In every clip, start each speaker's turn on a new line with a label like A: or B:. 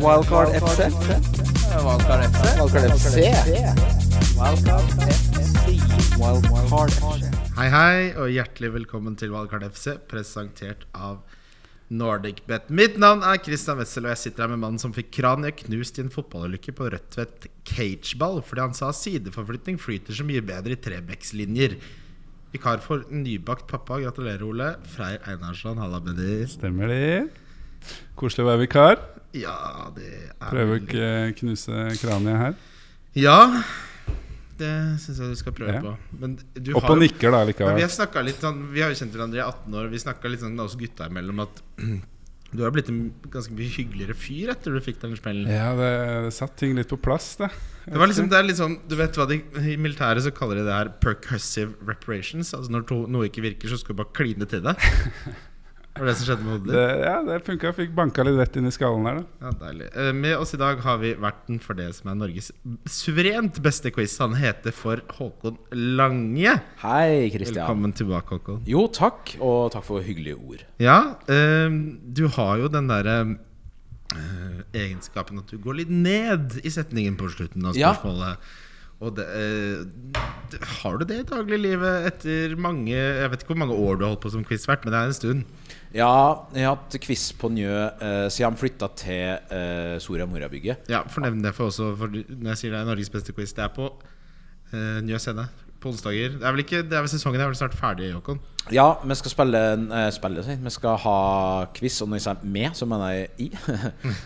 A: Wildcard FC.
B: Valgkart FC.
A: Wildcard FC. Wildcard FC.
C: Hei, hei, og hjertelig velkommen til Valgkart FC, presentert av NordicBet. Mitt navn er Christian Wessel, og jeg sitter her med mannen som fikk kraniet knust i en fotballulykke på Rødtvet cageball fordi han sa sideforflytning flyter så mye bedre i trebekslinjer. Vikar for nybakt pappa. Gratulerer, Ole. Freyr Einarsland, halla, Benny.
D: Stemmer det. Koselig å være vikar.
C: Ja, det er
D: Prøver å
C: vel-
D: ikke knuse kraniet her.
C: Ja, det syns jeg du skal prøve
D: Ja.
C: på. Men du
D: Opp
C: har
D: og
C: jo
D: nikker, da,
C: Men vi
D: likevel.
C: har snakket litt sånn Vi har jo kjent hverandre i 18 år. Vi snakka litt sånn oss gutta imellom at du har blitt en ganske mye hyggeligere fyr etter du fikk den smellen.
D: Ja, det, det satt ting litt på plass, det.
C: Det var liksom, det er litt sånn, du vet hva de, I militæret så kaller de det her percussive reparations. Altså Når to, noe ikke virker, så skal du bare kline til det. Det var det som skjedde med hodet
D: det
C: ditt.
D: ja, det funka. Fikk banka litt rett inn i skallen her, da.
C: Ja, deilig. Eh, Med oss i dag har vi verten for det som er Norges suverent beste quiz. Han heter for Håkon Lange.
A: Hei, Christian.
C: Velkommen tilbake, Håkon.
A: Jo, takk, og takk for hyggelige ord.
C: Ja, ehm, du har jo den derre egenskapen at du går litt ned i setningen på slutten av
A: Ja.
C: spørsmålet. Og det, eh, det- har du det i dagliglivet etter mange Jeg vet ikke hvor mange år du har holdt på som quizvert, men det er en stund.
A: Ja, jeg har hatt quiz på Njø eh, siden han flytta til eh, Soria Moria-bygget.
C: Ja, Fornevn det for også, for du- når jeg sier det er Norges beste quiz. Det er på uh, Njø scene på onsdager. Det er vel ikke, det er vel sesongen er vel snart ferdig, Håkon?
A: Ja, vi skal spille, en- eh, spille sier jeg. Vi skal ha quiz, og når jeg sier med, så mener jeg i.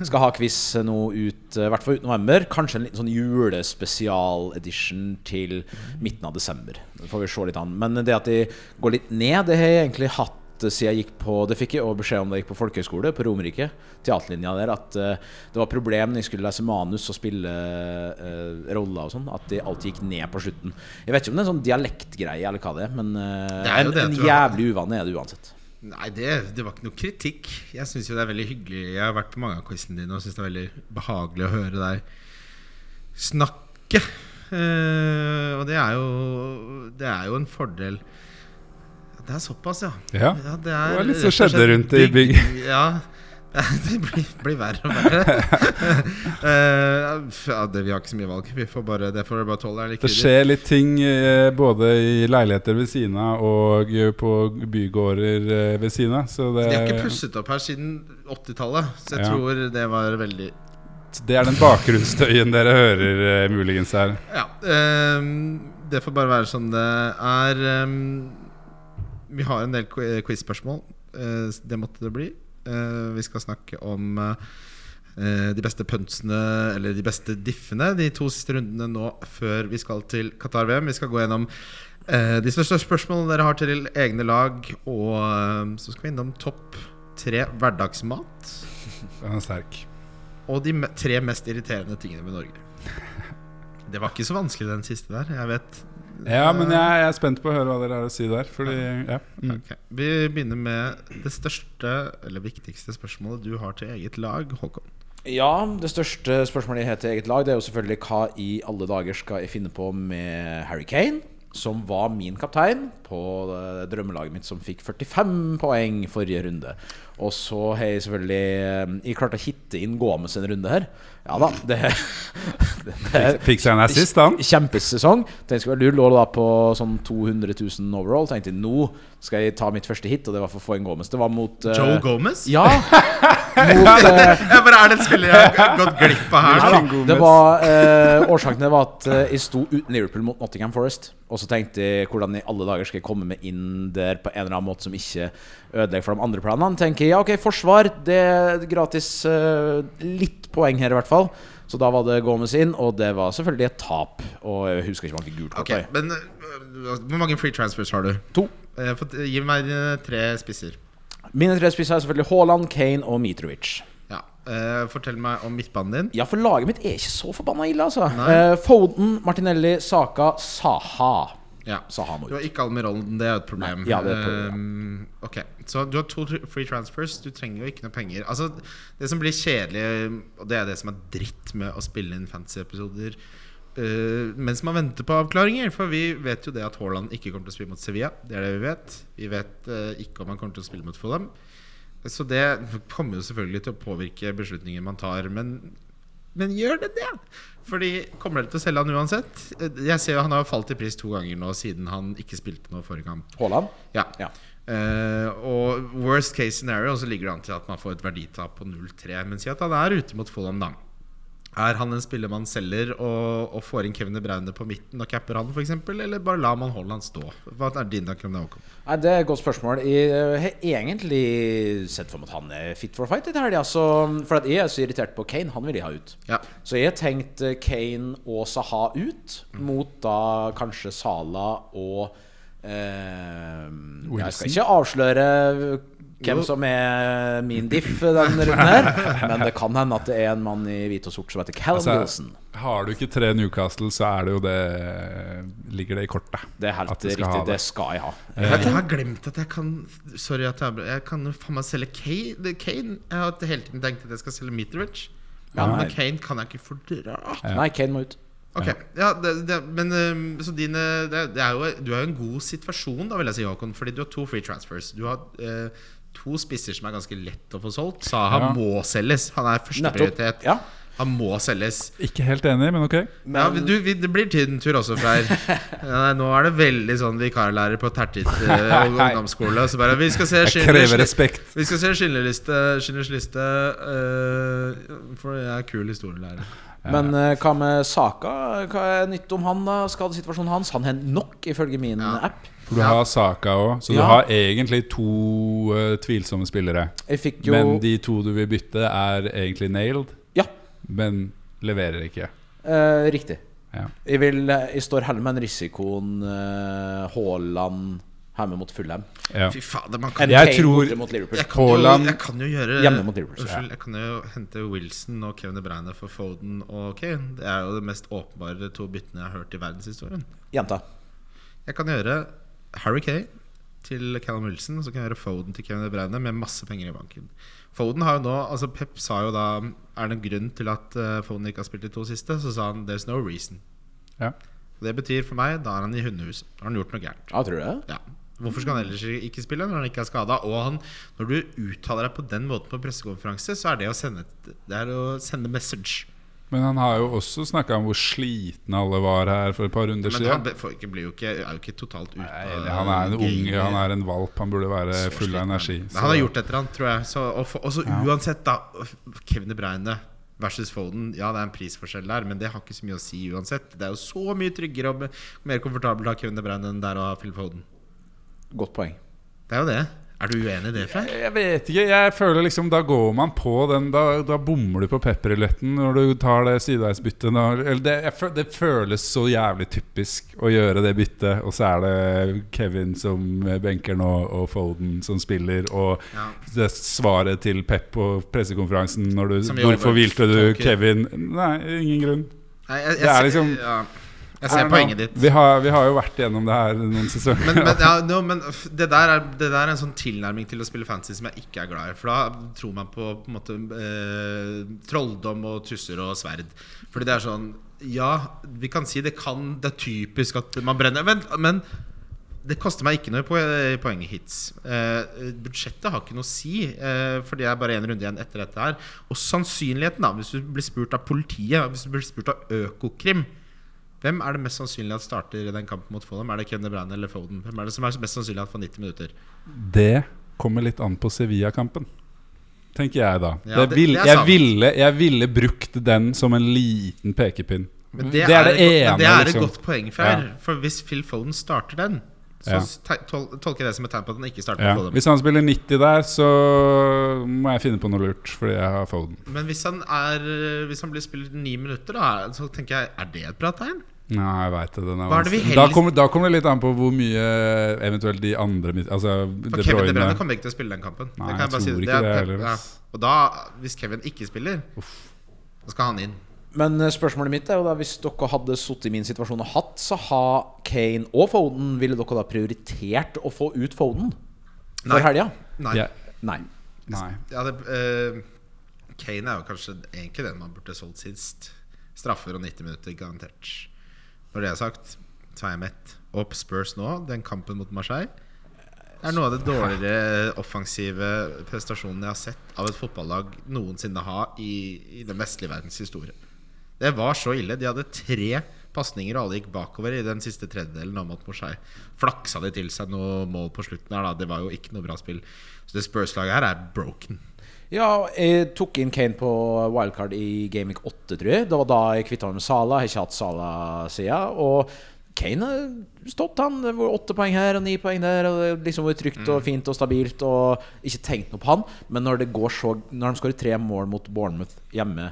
A: skal ha quiz nå ut, eh, i hvert fall ut november. Kanskje en liten sånn julespesial-edition til midten av desember. Det får vi se litt an. Men det at de går litt ned, det har jeg egentlig hatt siden jeg gikk på Det fikk jeg også beskjed om da jeg gikk på folkehøyskole på Romerike. Teaterlinja der. At eh, det var problem når jeg skulle lese manus og spille eh, roller og sånn, at de alltid gikk ned på slutten. Jeg vet ikke om det er en sånn dialektgreie eller hva det er, men eh,
C: Det er jo
A: en,
C: det,
A: en
C: tror jeg.
A: jævlig uvane er det uansett.
C: Nei, det, det var ikke noe kritikk. Jeg syns jo det er veldig hyggelig. Jeg har vært på mange av quizene dine og syns det er veldig behagelig å høre deg snakke. Eh, og det er jo Det er jo en fordel. Det er såpass, ja.
D: Ja.
C: det, er,
D: Det var litt
C: rett
D: som
C: og slett
D: skjedde rundt i
C: bygg-
D: bygget.
C: Ja. Det blir, blir verre og verre. Eh, ja, det, vi har ikke så mye valg. Vi får bare, det får dere bare tåle. er ikke
D: Det skjer litt ting eh, både i leiligheter ved siden av og eh, på bygårder eh, ved siden av. Så det,
C: De har ikke pusset opp her siden 80-tallet, så jeg
D: Ja.
C: tror det var veldig
D: det er den bakgrunnsstøyen dere hører eh, muligens her.
C: Ja. ehm, det får bare være som det er. Ehm, vi har en del qui- quiz-spørsmål. Eh, det måtte det bli. Eh, vi skal snakke om eh, de beste puntsene, eller de beste diffene, de to siste rundene nå før vi skal til Qatar-VM. Vi skal gå gjennom eh, de største spørsmålene dere har til egne lag, og eh, så skal vi innom topp tre hverdagsmat.
D: Den er sterk.
C: Og de me- tre mest irriterende tingene med Norge. Det var ikke så vanskelig, den siste der. Jeg vet.
D: Ja, men jeg, jeg er spent på å høre hva dere har å si der. Fordi, ja. mm.
C: Ok. Vi begynner med det største, eller viktigste spørsmålet du har til eget lag, Håkon.
A: Ja, det største spørsmålet jeg har til eget lag, det er jo selvfølgelig hva i alle dager skal jeg finne på med Harry Kane, som var min kaptein på eh, drømmelaget mitt, som fikk 45 poeng forrige runde. Og så har jeg selvfølgelig eh, Jeg klarte å hitte inn Gomez en runde her. Ja da, det, det, det
D: Fikk seg en assist, han.
A: Kjempesesong. Tenkte skulle være lur, lå da på sånn 200 000 overall. Tenkte nå skal jeg ta mitt første hit, og det var for å få inn Gomez. Det var mot eh,
C: Joe Gomez?
A: Ja! Mot eh,
C: Jeg bare er det en spiller jeg har gått glipp av her.
A: Nei
C: Da.
D: Joe
A: da.
D: Gomez.
A: Det var, eh, årsaken til det var at eh, jeg sto uten Liverpool mot Nottingham Forest. Og så tenkte jeg hvordan i alle dager skal jeg komme meg inn der på en eller annen måte som ikke ødelegger for de andre planene. Tenker jeg, ja, ok, forsvar, det er gratis eh, litt poeng her i hvert fall. Så da var det Gomez inn, og det var selvfølgelig et tap. Og jeg husker ikke om han fikk gult kort.
C: Ok,
A: Okay.
C: men øh, Hvor mange free transfers har du?
A: To.
C: Eh, fått- Gi meg eh, tre spisser.
A: Mine tre spisser er selvfølgelig Haaland, Kane og Mitrovic.
C: Ja. Eh, fortell meg om midtbanen din.
A: Ja, for laget mitt er ikke så forbanna ille, altså. Eh, Foden, Martinelli, Saka, Saha.
C: Ja.
A: Saha må
C: Du
A: ut.
C: har ikke Almirolden, det er jo et problem.
A: Nei, ja, det er et problem,
C: Ehm, ok, Så du har to tr- free transfers, du trenger jo ikke noe penger. Altså, Det som blir kjedelig, og det er det som er dritt med å spille inn fantasy-episoder eh, mens man venter på avklaringer, for vi vet jo det at Haaland ikke kommer til å spille mot Sevilla. Det er det vi vet. Vi vet eh, ikke om han kommer til å spille mot Fulham. Så det kommer jo selvfølgelig til å påvirke beslutningen man tar, men, men gjør det det? Fordi kommer dere til å selge han uansett? Eh, Jeg ser jo Han har falt i pris to ganger nå siden han ikke spilte noe forrige kamp.
A: Haaland?
C: Ja.
A: Ja.
C: Eh, og worst case scenario så ligger det an til at man får et verditap på 0-3. Men si at han er ute mot Fulham, da. Er han en spiller man selger og, og får inn Kevin De Bruyne på midten og capper han, f.eks.? Eller bare lar man Haaland stå? Hva er din tanke om det? Håkon?
A: Nei, Det er et godt spørsmål. Jeg eh, har egentlig sett for meg at han er fit for fight etter helga. så- For at jeg er så irritert på Kane. Han vil jeg ha ut.
C: Ja.
A: Så jeg har tenkt eh, Kane og Saha ut, mot da kanskje Sala og eh, Jeg skal ikke avsløre hvem
C: Jo.
A: som er min diff den runden her, men det kan hende at det er en mann i hvit og sort som heter Callum
D: Altså,
A: Wilson.
D: har du ikke tre Newcastle, så er det jo det eh, Ligger det i kortet.
A: Det er
D: At
A: helt
D: du skal
A: riktig.
D: ha det.
A: Det skal jeg ha.
C: Jeg, jeg har glemt at jeg kan Sorry at jeg avbryter. Jeg kan jo faen meg selge Kane. Kane. Jeg har hele tiden tenkt at jeg skal selge Mitrovic.
A: Ja, nei.
C: men Kane kan jeg ikke fordra.
A: Nei, Kane må ut.
C: Ok, ja, det, det, men øhm, så dine det, det er jo, Du er jo i en god situasjon, da vil jeg si, Håkon. Fordi du har to free transfers. Du har øh, to spisser som er ganske lett å få solgt. Saha
D: Ja.
C: må selges. Han er
A: Nettopp.
C: førsteprioritet.
A: Ja.
C: Han må selges.
D: Ikke helt enig, men ok.
C: Men, ja, men du, vi, det blir tydentur også, Freyr. Nei, nå er det veldig sånn vikarlærer på Tertit øh, ungdomsskole. Så bare, vi skal se
D: Jeg
C: Schindlers
D: krever
C: li-
D: respekt.
C: Vi skal se Schindlerliste, Schindlers liste. øh, for jeg er kul historielærer.
A: Men eh, hva med Saka? Hva er nytt om han da? Skadesituasjonen hans? Han har nok, ifølge min
C: Ja.
A: app.
D: For du har Saka òg, så du
A: Ja.
D: har egentlig to eh, tvilsomme spillere.
A: Jeg fikk jo
D: Men de to du vil bytte, er egentlig nailed,
A: Ja,
D: men leverer ikke.
A: eh, riktig.
D: Ja.
A: Jeg, vil, eh, jeg står heller med den risikoen eh, Haaland hjemme mot Fulham.
D: Ja.
C: Fy fader, man kan
A: Enn
D: Jeg
A: Kane
D: tror-
A: borte mot Liverpool.
C: Jeg kan, jo,
D: Haaland-
C: jeg kan jo gjøre
A: Hjemme mot Liverpool,
C: Unnskyld, jeg kan jo hente Wilson og Kevin De Bruyne for Foden og Kane. Det er jo det mest åpenbare to byttene jeg har hørt i verdenshistorien.
A: Jenta.
C: Jeg kan gjøre Harry Kane til Callum Wilson, og så kan jeg gjøre Foden til Kevin De Bruyne med masse penger i banken. Foden har jo nå Altså Pep sa jo da Er det en grunn til at eh, Foden ikke har spilt de to siste? Så sa han There's no reason.
D: Ja.
C: Det betyr for meg da er han i hundehuset. Da har han gjort noe gærent.
A: Ja, tror du det?
C: Ja. Hvorfor skal han ellers ikke spille når han ikke er skada? Og han, når du uttaler deg på den måten på pressekonferanse, så er det å sende, et- det er å sende message.
D: Men han har jo også snakka om hvor slitne alle var her for et par runder
C: Men han
D: siden.
C: be- får ikke, blir jo ikke, er jo ikke totalt ute.
D: Nei, Han er en unge, han er en valp. Han burde være
C: Så
D: full
C: sliten.
D: av energi.
C: Men han har gjort et eller annet, tror jeg. Så, og, for, og så uansett, da. Kevin De Bruyne versus Foden. Ja, det er en prisforskjell der, men det har ikke så mye å si uansett. Det er jo så mye tryggere og be- mer komfortabelt å ha Kevin De Bruyne enn det er å ha Phil Foden.
A: Godt poeng.
C: Det er jo det. Er du uenig i det, Freyr?
D: Jeg vet ikke. jeg føler liksom Da går man på den. Da, da bommer du på pepperilletten når du tar det sideveisbyttet. da. Eller Det, jeg føl- det føles så jævlig typisk å gjøre det byttet, og så er det Kevin som benker nå, og Foden som spiller, og
C: Ja.
D: det svaret til Pep på pressekonferansen når du
C: Som vi
D: Hvorfor hvilte du
C: overtolker.
D: Kevin? Nei, ingen grunn.
C: Nei, jeg, jeg,
D: Det er
C: ser-
D: liksom-
C: ja. jeg
D: I
C: ser
D: don't know.
C: poenget ditt.
D: Vi har, vi har jo vært gjennom det her noen sesonger.
C: Men, men, ja, no, men f- det, der er, det der er en sånn tilnærming til å spille fantasy som jeg ikke er glad i. For da tror man på, på en måte eh, trolldom og tusser og sverd. Fordi det er sånn Ja, vi kan si det kan Det er typisk at man brenner. Men, men det koster meg ikke noe på poeng i hits. Eh, budsjettet har ikke noe å si, eh, for det er bare én runde igjen etter dette her. Og sannsynligheten, da, hvis du blir spurt av politiet, hvis du blir spurt av Økokrim hvem er det mest sannsynlig at starter i den kampen mot Fulham? Er det Kevin De Bruyne eller Foden? Hvem er det som er mest sannsynlig at får 90 minutter?
D: Det kommer litt an på Sevilla-kampen, tenker jeg da.
C: Ja,
D: jeg,
C: det-
D: vil,
C: det er
D: jeg,
C: sant.
D: ville, jeg ville brukt den som en liten pekepinn.
C: Men
D: Mm. Det er det
C: et godt- men det
D: ene,
C: er et
D: liksom.
C: godt poeng, Freyr. For hvis Phil Foden starter den, så
D: Ja.
C: s- te- tol tolker jeg det som et tegn på at han ikke starter
D: Ja.
C: mot Fulham.
D: Hvis han spiller 90 der, så må jeg finne på noe lurt, fordi jeg har Foden.
C: Men hvis han, er, hvis han blir spilt ni minutter, da, så tenker jeg er det et bra tegn?
D: Nei, jeg vet det. Den er
C: Hva er det vi
D: vanskelig. da,
C: helst-
D: kommer, da kommer det litt an på hvor mye eventuelt de andre midt- Altså
C: For
D: De
C: Kevin De Bruyne
D: Bruyne.
C: kommer ikke til å spille den kampen.
D: Nei,
C: det
D: jeg
C: kan jeg bare si.
D: tror
C: Det
D: ikke
C: er,
D: det
C: Pep-
D: heller,
C: ja.
D: ass.
C: Og da, hvis Kevin ikke spiller, da skal han inn.
A: Men eh, spørsmålet mitt er jo da hvis dere hadde sittet i min situasjon og hatt Saha, Kane og Foden, ville dere da prioritert å få ut Foden
C: Nei.
A: for helga?
C: Nei.
D: Ja.
A: Nei.
D: Nei.
C: Ja, det, eh, Kane er jo kanskje egentlig den man burde solgt sist. Straffer og 90 minutter, garantert. Når det er sagt, så er jeg mett. Opp Spurs nå, den kampen mot Marseille. er noe av det dårligere offensive prestasjonen jeg har sett av et fotballag noensinne ha i, i den vestlige verdens historie. Det var så ille. De hadde tre pasninger, og alle gikk bakover i den siste tredjedelen. nå mot Marseille. Flaksa de til seg noe mål på slutten her, da. Det var jo ikke noe bra spill. Så det Spurs-laget her er broken.
A: Ja, jeg tok inn Kane på wildcard i Gaming 8, tror jeg. Det var da jeg kvitta meg med Sala. Jeg har ikke hatt Sala siden. Og Kane har stått, han. Det var åtte poeng her og ni poeng der. Og det liksom var trygt
C: Mm.
A: og fint og stabilt og ikke tenkt noe på han. Men når det går så Når de skårer tre mål mot Bournemouth hjemme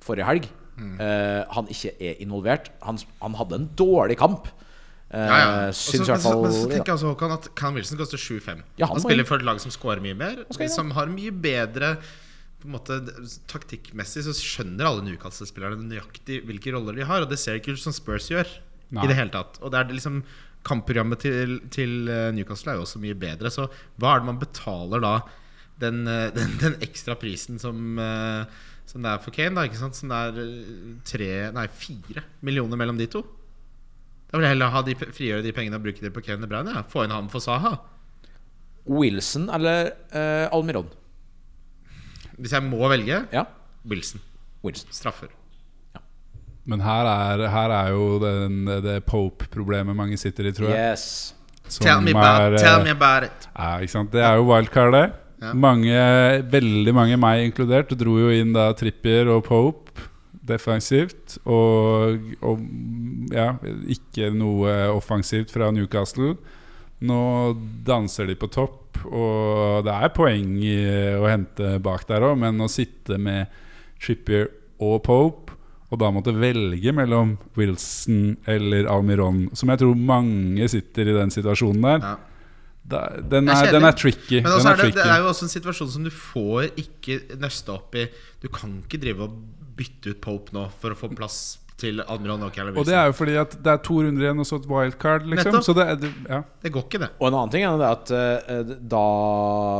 A: forrige helg,
C: Mm.
A: eh, han ikke er involvert Han, han hadde en dårlig kamp. Eh,
C: Ja, ja. Og så-
A: Syns i
C: men
A: hvert
C: så-
A: fall
C: Men så
A: vi, da.
C: tenker jeg også, Håkan, at Can Wilson koster 7-5.
A: Ja, han
C: han
A: må
C: spiller
A: inn.
C: for et lag som scorer mye mer,
A: skal inn,
C: som har mye bedre på en måte, Taktikkmessig så skjønner alle Newcastle-spillerne nøyaktig hvilke roller de har, og det ser ikke ut som Spurs gjør.
D: Nei.
C: I det hele tatt Og det er det liksom Kampprogrammet til, til eh, Newcastle er jo også mye bedre, så hva er det man betaler da den, eh, den, den ekstra prisen som eh, Som det er for Kane, da? Ikke sant? Som det er eh, tre, nei, fire millioner mellom de to? Da vil jeg heller ha de, pe- frigjøre de pengene og bruke dem på Kevin De Bruyne. Ja. Få inn ham for Saha.
A: Wilson eller eh, Almiron?
C: Hvis jeg må velge
A: Ja,
C: Wilson.
A: Wilson.
C: Straffer.
D: Men her er, her er jo den, det Pope-problemet mange sitter i, tror jeg.
A: Yes.
D: Som
C: Tell me,
D: er,
C: about, tell me
D: eh,
C: about it.
D: Ja, ikke sant? Det er jo wildcard, det.
C: Ja.
D: Mange, veldig mange, meg inkludert, dro jo inn da Trippier og Pope defensivt. Og, og ja, ikke noe offensivt fra Newcastle. Nå danser de på topp, og det er poeng i å hente bak der òg, men å sitte med Trippier og Pope, og da måtte velge mellom Wilson eller Almiron, som jeg tror mange sitter i den situasjonen der,
C: Ja.
D: da, den, er,
C: Det er kjedelig.
D: den er tricky.
C: Men
D: Den
C: også
D: er
C: er det,
D: tricky.
C: det er jo også en situasjon som du får ikke nøste opp i. Du kan ikke drive og bytte ut Pope nå for å få plass til Admiral Nokia eller
D: og det
C: Wilson.
D: er jo fordi at det er to runder igjen og så et wildcard, liksom.
C: Nettopp.
D: Så det er, det- ja.
C: Det går ikke, det.
A: Og en annen ting er det at eh, da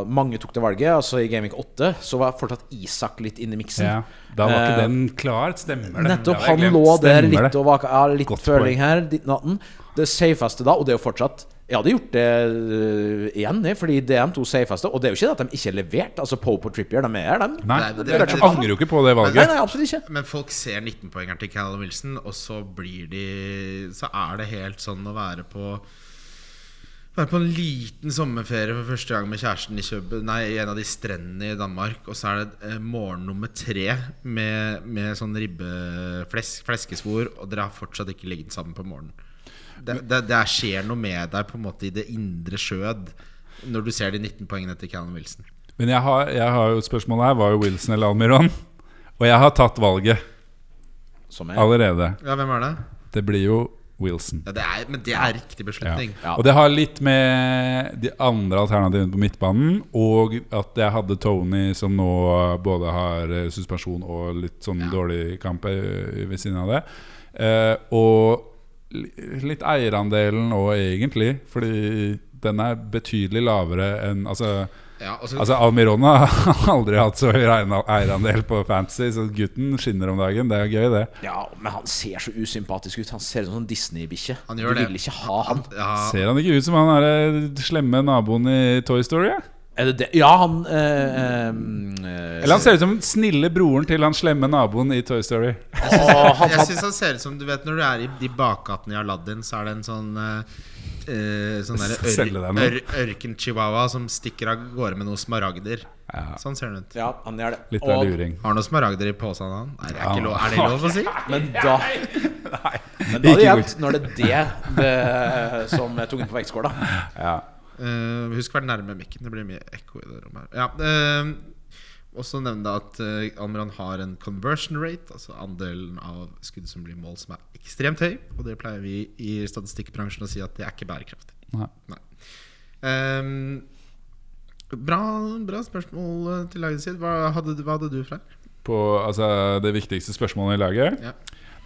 A: mange tok det valget, altså i Gaming 8, så var fortsatt Isak litt inne i miksen.
D: ja. Da var ikke
A: Eh,
D: den klar. Stemmer det. Det
A: Nettopp.
D: hadde jeg
A: Han
D: glemt.
A: lå der
D: Stemmer
A: litt
D: det.
A: og vaka. Ja, litt
D: Godt
A: føling her. Ditt natten. Det safeste da, og det er jo fortsatt Jeg hadde gjort det eh, igjen, jeg, fordi det er de to safeste. Og det er jo ikke det at de ikke er levert. Altså Pope og Trippier, de er her, dem.
D: Nei,
C: Nei, det-
D: jeg
C: det-
D: angrer jo ikke på det
A: Nei,
D: valget.
A: nei, absolutt ikke.
C: Men folk ser 19-poengeren til Callum Wilson, og så blir de Så er det helt sånn å være på være på en liten sommerferie for første gang med kjæresten i Køben, nei, i en av de strendene i Danmark, og så er det eh, morgen nummer tre med, med sånn ribbeflesk, fleskesvor, og dere har fortsatt ikke ligget sammen på morgenen. Det, det, det skjer noe med deg på en måte i det indre skjød når du ser de 19 poengene til Callum Wilson.
D: Men jeg har, jeg har jo et spørsmål her. Var jo Wilson eller Almiron? Og jeg har tatt valget
A: Som er.
D: allerede.
C: Ja, hvem er det?
D: Det blir jo Wilson.
C: Ja, det er, men det er riktig beslutning.
A: Ja.
D: Og det har litt med de andre alternativene på midtbanen og at jeg hadde Tony, som nå både har eh, suspensjon og litt sånn dårlig kamp eh, ved siden av det. Eh, og li- litt eierandelen òg, egentlig, fordi den er betydelig lavere enn Altså,
C: Ja, og så-
D: altså Almirona har aldri hatt så høy eierna- eierandel på Fantasy, så gutten skinner om dagen. Det er gøy, det.
A: Ja, men han ser så usympatisk ut. Han ser ut som en Disney-bikkje.
C: Han
A: Du
C: gjør det.
A: vil ikke ha han.
C: Ja,
D: Ser han ikke ut som han er eh, slemme naboen i Toy Story? Ja?
A: Er det det? Ja, han eh, eh,
D: Eller han ser ut som den snille broren til han slemme naboen i Toy Story.
A: Åh, han,
C: Jeg syns han ser ut som du vet når du er i de bakgatene i Aladdin, så er det en sånn eh, eh, Sånn der
D: Selge deg
C: ør,
D: noe.
C: ør, ørkenchihuahua som stikker av gårde med noen smaragder. Sånn ser han ut.
A: ja, han gjør det.
D: Litt av
A: Og-
D: luring.
C: Har noen smaragder i posen han? Nei, det er
D: Ja.
C: ikke lov. Er det lov å si?
A: Men da Men da
D: Ikke
A: hadde jeg
D: godt.
A: hatt Når det er det, det som er tungen på vektskåla.
C: Eh, husk å være nærme mikken. Det blir mye ekko i det rommet her. Ja, ehm, og så nevne at eh, Almran har en conversion rate, altså andelen av skudd som blir mål, som er ekstremt høy. Og det pleier vi i statistikkbransjen å si at det er ikke bærekraftig.
D: Nei.
C: Ehm, bra, bra spørsmål eh, til laget sitt. Hva hadde, du- hva hadde du fra?
D: På altså, det viktigste spørsmålet i laget.
C: Ja.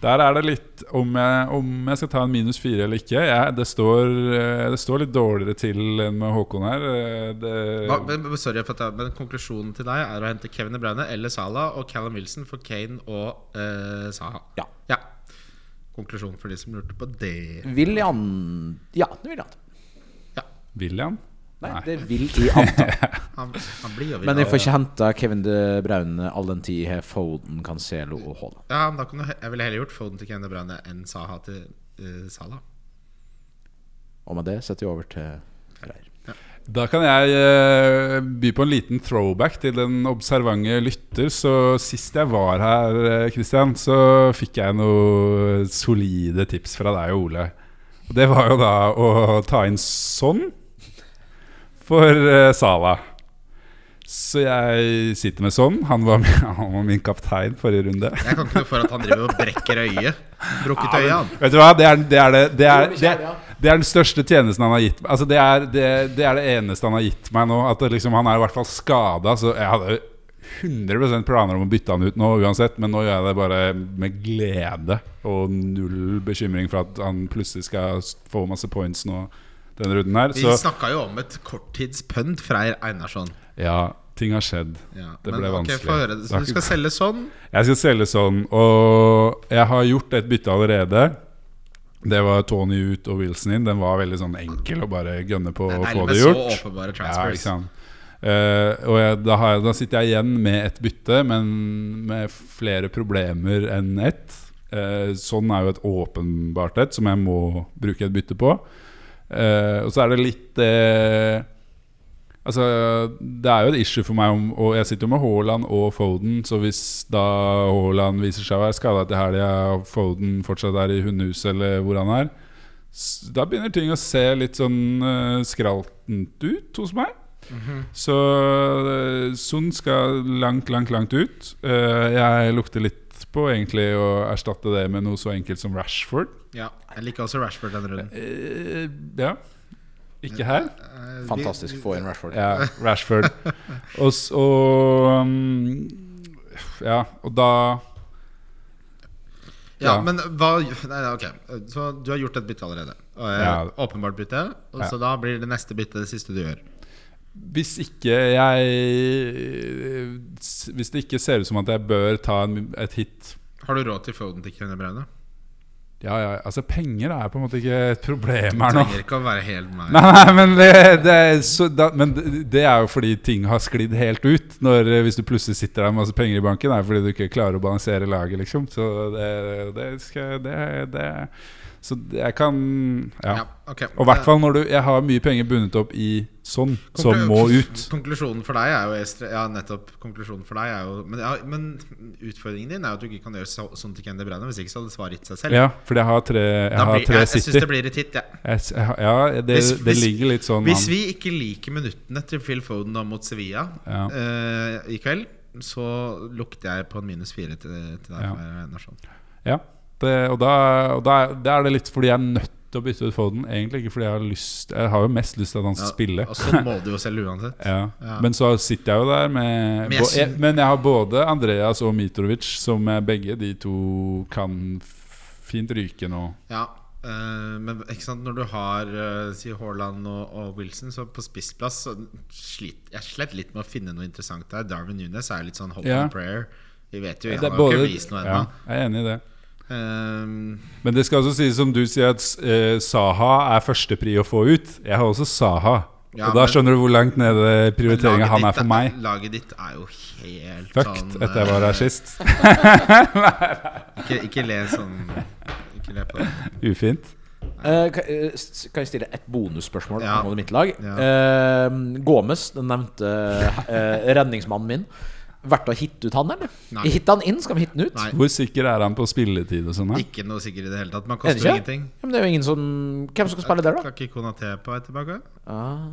D: Der er det litt om jeg, om jeg skal ta en minus fire eller ikke. Jeg, det, står, eh, det står litt dårligere til enn med Håkon her. Eh,
C: Hva,
D: Det,
C: men- men sorry, for at jeg, men konklusjonen til deg er å hente Kevin De Bruyne eller Salah og Callum Wilson for Kane og eh, Saha.
A: Ja.
C: ja. Konklusjonen for de som lurte på det.
A: Vil jeg an... Ja, det vil jeg an.
D: William?
A: Nei,
D: Nei.
A: det vil jeg anta.
C: Han, han blir jo
A: Men jeg
C: videre.
A: får ikke henta Kevin De Bruyne all den tid jeg har Foden, Cancelo og Haaland.
C: Ja, men da kunne jeg, jeg ville heller gjort Foden til Kevin De Bruyne enn Saha til eh, Salah.
A: Og med det setter jeg over til Freyr.
D: Da kan jeg eh, by på en liten throwback til den observante lytter. Så sist jeg var her, eh, Christian, så fikk jeg noen solide tips fra deg og Ole. Og Det var jo da å ta inn sånn for eh, Sala. Så jeg sitter med sånn. Han var, min, han var min kaptein forrige runde.
C: Jeg kan ikke noe for at han driver og brekker øyet. Brukket øyet, han.
D: Vet du hva, det er, det, er det, det, er, det, er, det er den største tjenesten han har gitt meg. Altså, det, er, det, det er det eneste han har gitt meg nå. At det liksom, Han er i hvert fall skada, så jeg hadde 100 planer om å bytte han ut nå uansett, men nå gjør jeg det bare med glede og null bekymring for at han plutselig skal s- få masse points nå denne runden her.
C: Vi
D: Så
C: snakka jo om et korttidspønt Freyr Einarsson.
D: ja, ting har skjedd.
C: Ja,
D: Det
C: men
D: ble
C: ok,
D: vanskelig.
C: få høre. Så du skal selge sånn?
D: Jeg skal selge sånn, og jeg har gjort et bytte allerede. Det var Tony ut og Wilson inn. Den var veldig sånn enkel å bare gønne på
C: Det er
D: og få
C: deilig med
D: det
C: så
D: gjort.
C: åpenbare
D: Ja,
C: transfers.
D: ikke sant? Eh, og jeg, da, har jeg, da sitter jeg igjen med et bytte, men med flere problemer enn ett. Eh, sånn er jo et åpenbart et som jeg må bruke et bytte på. Eh, og så er det litt eh, Altså, det er jo et issue for meg om Og jeg sitter jo med Haaland og Foden, så hvis da Haaland viser seg å være skada til helga, og Foden fortsatt er i hundehuset eller hvor han er, s- da begynner ting å se litt sånn eh, skraltent ut hos meg. Så eh, Son skal langt, langt, langt ut. Eh, jeg lukter litt på egentlig å erstatte det med noe så enkelt som Rashford.
C: Ja, jeg liker også Rashford denne runden.
D: Eh, ja. Ikke her.
C: Eh, vi-
A: Fantastisk. Få inn Rashford.
D: Ja, Rashford. Og, s- og um, Ja, og da
C: Ja,
D: Ja.
C: men hva Nei, nei, ok. Så du har gjort et bytte allerede. Og, eh,
D: Ja.
C: Åpenbart bytte. Og
D: Ja.
C: Så da blir det neste bytte det siste du gjør.
D: Hvis ikke jeg s- Hvis det ikke ser ut som at jeg bør ta en, et hit
C: Har du råd til Foden til Kevin De Bruyne?
D: Ja, ja, altså penger er på en måte ikke et problem
C: Du
D: her nå.
C: trenger ikke å være helt meg.
D: Nei, nei, men det, det, er så, da, men det- det er jo fordi ting har sklidd helt ut. Når, eh, hvis du plutselig sitter der med masse penger i banken, er det fordi du ikke klarer å balansere laget, liksom. Så det, det skal det, det Så det- jeg kan Ja.
C: Ja, ok.
D: Og i hvert fall når du Jeg har mye penger bundet opp i sånn, som
C: Eh, Konklu-
D: må ut.
C: Konklusjonen for deg er jo estre- Ja, nettopp. Konklusjonen for deg er jo Men, ja, men utfordringen din er jo at du ikke kan gjøre så, sånn til Kevin De Bruyne. Hvis ikke så hadde svaret gitt seg selv.
D: Ja, fordi jeg har tre, jeg
C: Da
D: har
C: blir, jeg
D: tre
C: jeg syns det
D: City.
C: blir et hit, jeg.
D: Jeg s- jeg har- Ja, det,
C: Hvis-
D: det
C: hvis-
D: ligger litt sånn
C: Hvis
D: an.
C: vi ikke liker minuttene til Phil Foden da mot Sevilla
D: Ja.
C: eh, i kveld, så lukter jeg på en minus fire til, til deg.
D: Ja.
C: Freyr Einarsson.
D: Ja, det, og, da, og da, da er det litt fordi jeg er nødt til å bytte ut Foden. Egentlig ikke fordi jeg har lyst Jeg har jo mest lyst til at han skal
C: Ja,
D: spille.
C: Og sånn må du jo selge uansett.
D: Ja.
C: Ja.
D: Men så sitter jeg jo der med
C: Men jeg
D: bo- jeg,
C: syn-
D: Men jeg har både Andreas og Mitrovic, som jeg begge de to kan f- fint ryke nå.
C: Ja, eh, men ikke sant når du har eh, si Haaland og, og Wilson, så på spissplass så slit, Jeg slet litt med å finne noe interessant der. Darwin Nunes er litt sånn hope
D: Ja.
C: and prayer. Vi vet jo,
D: Det
C: han
D: er
C: har jo
D: både-
C: ikke vist noe
D: ja,
C: ennå.
D: jeg er enig i det.
C: Ehm,
D: Men det skal også sies, som du sier, at eh, Saha er førstepri å få ut. Jeg har også Saha.
C: Ja,
D: og da
C: men-
D: skjønner du hvor langt nede
C: men
D: prioriteringa
C: laget
D: han er
C: ditt
D: for meg.
C: Laget ditt er jo helt sånn
D: Fucked etter jeg var
C: eh,
D: her sist.
C: Ikke, ikke le sånn Ikke le på det.
D: Ufint.
A: Eh, kan, eh, s- kan jeg stille et bonusspørsmål
C: Ja.
A: angående mitt lag?
C: Ja.
A: Eh, Gomes, den nevnte eh, redningsmannen min. Verdt å hitte ut han, eller?
C: Nei.
A: Hitte han inn, skal vi hitte han ut?
C: Nei.
D: Hvor sikker er han på spilletid og sånn? da?
C: Ikke noe sikkert i det hele tatt. Man
A: Er det
C: koster
A: ikke?
C: jo ingenting.
A: Ja, men det er jo ingen som Hvem som skal spille der, da?
C: Kan ikke Konaté på vei tilbake?
A: Ah,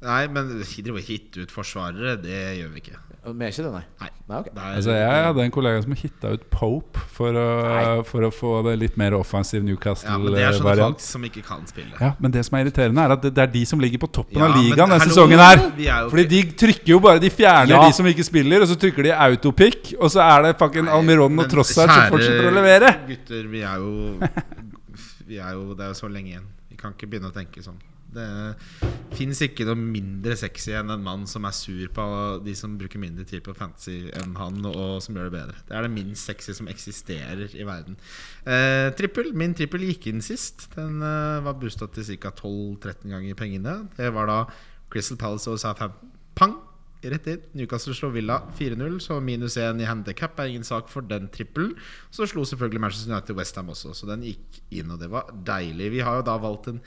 C: Nei, men vi driver og hitte ut forsvarere, det gjør vi ikke.
A: men er ikke det, nei?
C: Nei.
A: nei ok.
C: Det er-
D: Altså, jeg hadde en kollega som hitta ut Pope for å, for å få det litt mer offensiv
C: ja, men det er sånne folk
D: Newcastle-variant.
C: som ikke kan spille.
D: Ja, men det som er irriterende, er at det, det er de som ligger på toppen
C: Ja,
D: av
C: men
D: ligaen denne
C: hallo,
D: sesongen her.
C: vi er jo
D: Fordi
C: ikke-
D: de trykker jo bare De fjerner
A: Ja.
D: de som ikke spiller, og så trykker de autopic, og så er det fucking Almiron
C: Men
D: og Trossard som
C: kjære
D: fortsetter å levere.
C: Gutter, vi er jo Vi er jo Det er jo så lenge igjen. Vi kan ikke begynne å tenke sånn. Det fins ikke noe mindre sexy enn en mann som er sur på de som bruker mindre tid på fantasy enn han, og som gjør det bedre. Det er det minst sexy som eksisterer i verden. Eh, trippel, Min trippel gikk inn sist. Den eh, var boosta til ca. 12-13 ganger pengene. Det var da Crystal Palace og Southampton. Pang! Rett inn. Newcastle slår Villa 4-0, så minus 1 i handicap er ingen sak for den trippelen. Så slo selvfølgelig Manchester United Westham også, så den gikk inn, og det var deilig. Vi har jo da valgt en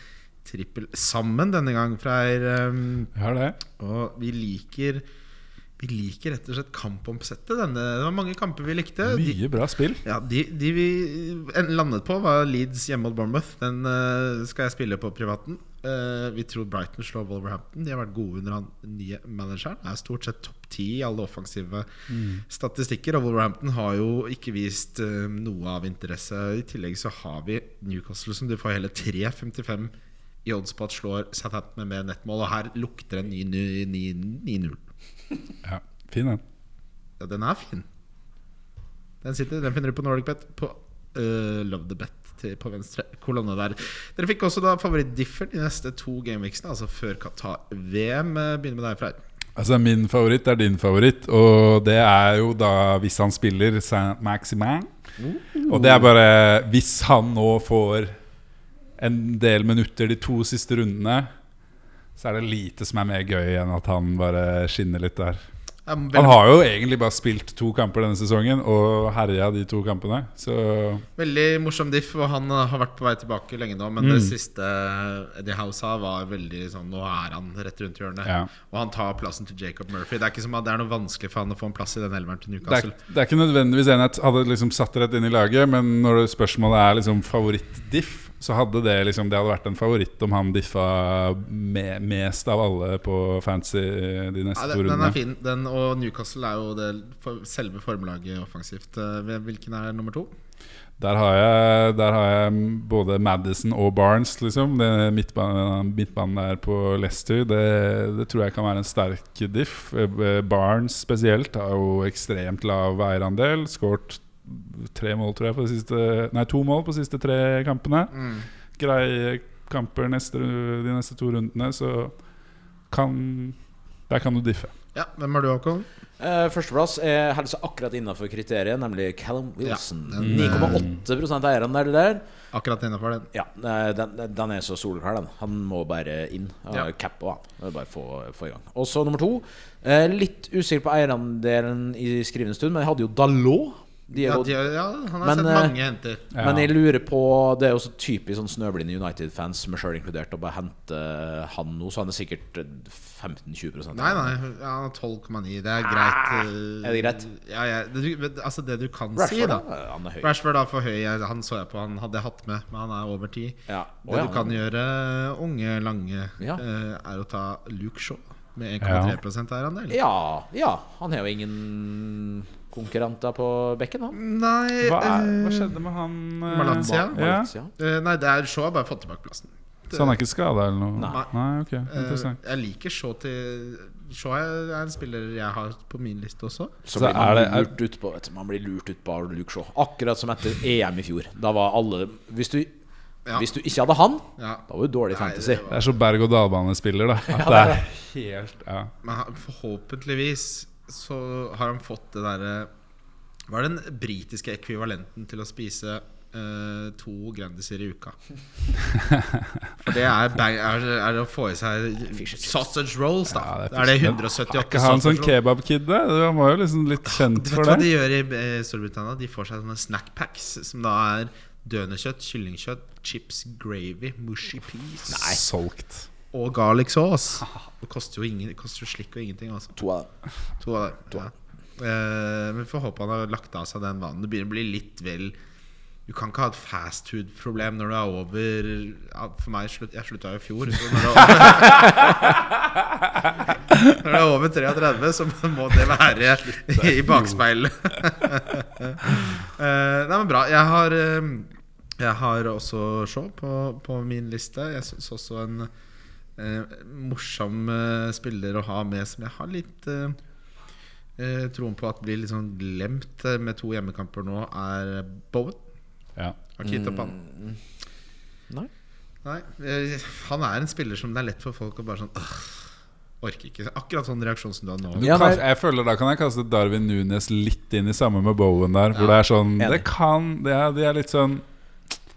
C: trippel sammen denne gang, Freyr. Um,
D: Jeg har det.
C: og vi liker Vi liker rett og slett kampomsettet. Denne. Det var mange kamper vi likte. De-
D: Mye bra spill.
C: ja, de, de vi en- landet på, var Leeds hjemme mot Bournemouth. Den eh, skal jeg spille på privaten. Eh, vi tror Brighton slår Wolverhampton. De har vært gode under han nye manageren. Er stort sett topp ti i alle offensive statistikker. Og Wolverhampton har jo ikke vist eh, noe av interesse. I tillegg så har vi Newcastle, som du får hele 3,55 i odds på at slår Southampton med mer nettmål. Og her lukter en ny 9-0.
D: Ja, Fin den.
C: Ja, den er fin. Den sitter, den finner du på Nordic Bet på øh, Love the Bet til, på venstre kolonne der. Dere fikk også da favoritt-differ de neste to gameweeksene, altså før Qatar-VM. Eh, Begynner med deg, Freyr.
D: Altså Min favoritt er din favoritt, og det er jo da hvis han spiller Saint-Maximin. Og det er bare Hvis han nå får en del minutter de to siste rundene, så er det lite som er mer gøy enn at han bare skinner litt der.
C: Ja, men
D: Han
C: Veldig,
D: har jo egentlig bare spilt to kamper denne sesongen og herja de to kampene, så
C: veldig morsom diff, og han eh, har vært på vei tilbake lenge nå. Men det
D: Mm.
C: siste Eddie Howe sa, var veldig sånn Nå er han rett rundt hjørnet.
D: Ja.
C: Og han tar plassen til Jacob Murphy. Det er ikke som at det er noe vanskelig for han å få en plass i den elveren til
D: det er,
C: Newcastle.
D: det er ikke nødvendigvis en jeg hadde liksom satt rett inn i laget, men når det spørsmålet er liksom favoritt-diff, så hadde det liksom Det hadde vært en favoritt om han diffa me, mest av alle på fancy de neste
C: Ja,
D: to
C: den, den
D: rundene.
C: er fin. Den, og Newcastle er jo det for, selve formlaget offensivt. Eh, Hvilken er nummer to?
D: Der har, jeg, der har jeg både Madison og Barnes, liksom. Det midtbanen, midtbanen der på Leicester, det, det tror jeg kan være en sterk diff. Eh, Barnes spesielt har jo ekstremt lav eierandel. Skåret tre mål, tror jeg, på de siste Nei, to mål på de siste tre kampene.
A: Mm.
D: Greie kamper neste, ru- de neste to rundene, så kan Der kan du diffe.
C: Ja, Hvem har du, Håkon?
A: Eh, Førsteplass er helse akkurat innafor kriteriet, nemlig Callum Wilson.
C: Ja, den, eh,
A: 9,8 eier han der, det der.
C: Akkurat innafor den.
A: Ja, eh, den, den er så solklar, den. Han må bare inn.
C: Ja.
A: Ja. Cap òg, han. Bare få, få i gang. Og så nummer to. Eh, litt usikker på eierandelen i skrivende stund, men jeg hadde jo Dalot.
C: Ja,
A: Diego
C: de, ja, han har
A: Men,
C: sett
A: eh,
C: mange henter.
D: Ja.
A: Men jeg lurer på Det er jo så typisk sånn snøblinde United-fans, meg sjøl inkludert, å bare hente han nå, så han er sikkert 15-20
C: Nei, nei, ja, han har 12,9. Det er greit. eh,
A: Ah, Er det greit?
C: Ja, ja, det, du, men, altså det du kan si,
A: Rashford,
C: da.
A: da. eh, Han er høy.
C: Rashford er for høy. Jeg- Han så jeg på, han hadde jeg hatt med, men han er over 10.
A: Ja.
C: Det du kan gjøre, unge Lange,
A: Ja.
C: eh, er å ta Luke Shaw med 1,3 eierandel.
A: ja, ja. Han har jo ingen konkurrenter på bekken, han.
C: Nei
D: Hva, er,
C: eh,
D: hva skjedde med han eh,
C: Malaysia?
D: Ja.
A: Valencia.
C: eh, Nei, det er Shaw har bare fått tilbake plassen.
D: Så han er ikke skada eller noe?
C: Nei.
D: ok,
C: Eh,
D: interessant
C: Jeg liker Shaw til Shaw er er en spiller jeg har på min liste også.
A: Så,
D: Så
A: blir man,
D: er det- er-
A: lurt ut på, vet du, man blir lurt ut på Luke Shaw. Akkurat som etter EM i fjor. Da var alle Hvis du,
C: Ja.
A: hvis du ikke hadde han,
C: Ja.
A: da var du dårlig i
C: Nei,
A: fantasy.
D: Det er så berg-og-dal-bane-spiller, da. At det er helt ja.
C: Men han- forhåpentligvis så har han fått det derre Hva er den britiske ekvivalenten til å spise eh, to Grandiser i uka? For det er, bang, er, er det å få i seg sausage rolls, da.
D: Ja, det er
C: er, det
D: fish-
C: 178
D: Ikke han sånn
C: sausage rolls?
D: kebabkid, da? Han var jo liksom litt
C: Du
D: kjent
C: Ah, vet
D: for
C: hva de
D: det.
C: gjør i eh, Storbritannia? De får seg sånne snackpacks, som da er dønekjøtt, kyllingkjøtt, chips, gravy, mushy peas
D: Solgt.
C: og garlic sauce. Det koster jo, ingen, det koster jo slikk og ingenting, altså.
A: To av dem.
C: To av dem. Ja. Eh, men vi får håpe han har lagt av seg den vanen. Det begynner å bli litt vel Du kan ikke ha et fastfood-problem når du er over ja, For meg slutt, Jeg slutta jo i fjor. Så når du er over, når du er over 33, så må det være i bakspeilet. Eh, nei, men bra. Jeg har, eh, jeg har også Shaw på, på min liste. Jeg syns også en eh, morsom eh, spiller å ha med som jeg har litt eh, eh, troen på at blir litt sånn glemt eh, med to hjemmekamper nå, er Bowen.
D: Ja.
C: Har ikke gitt opp han.
A: Nei.
C: Nei, eh, Han er en spiller som det er lett for folk å bare sånn «Åh, Orker ikke. Akkurat sånn reaksjon som du hadde nå.
A: Ja,
D: Kanskje-
A: nei.
D: jeg føler Da kan jeg kaste Darwin Nunes litt inn i samme med Bowen der. Hvor det er sånn
A: enig.
D: Det kan det er, de er litt sånn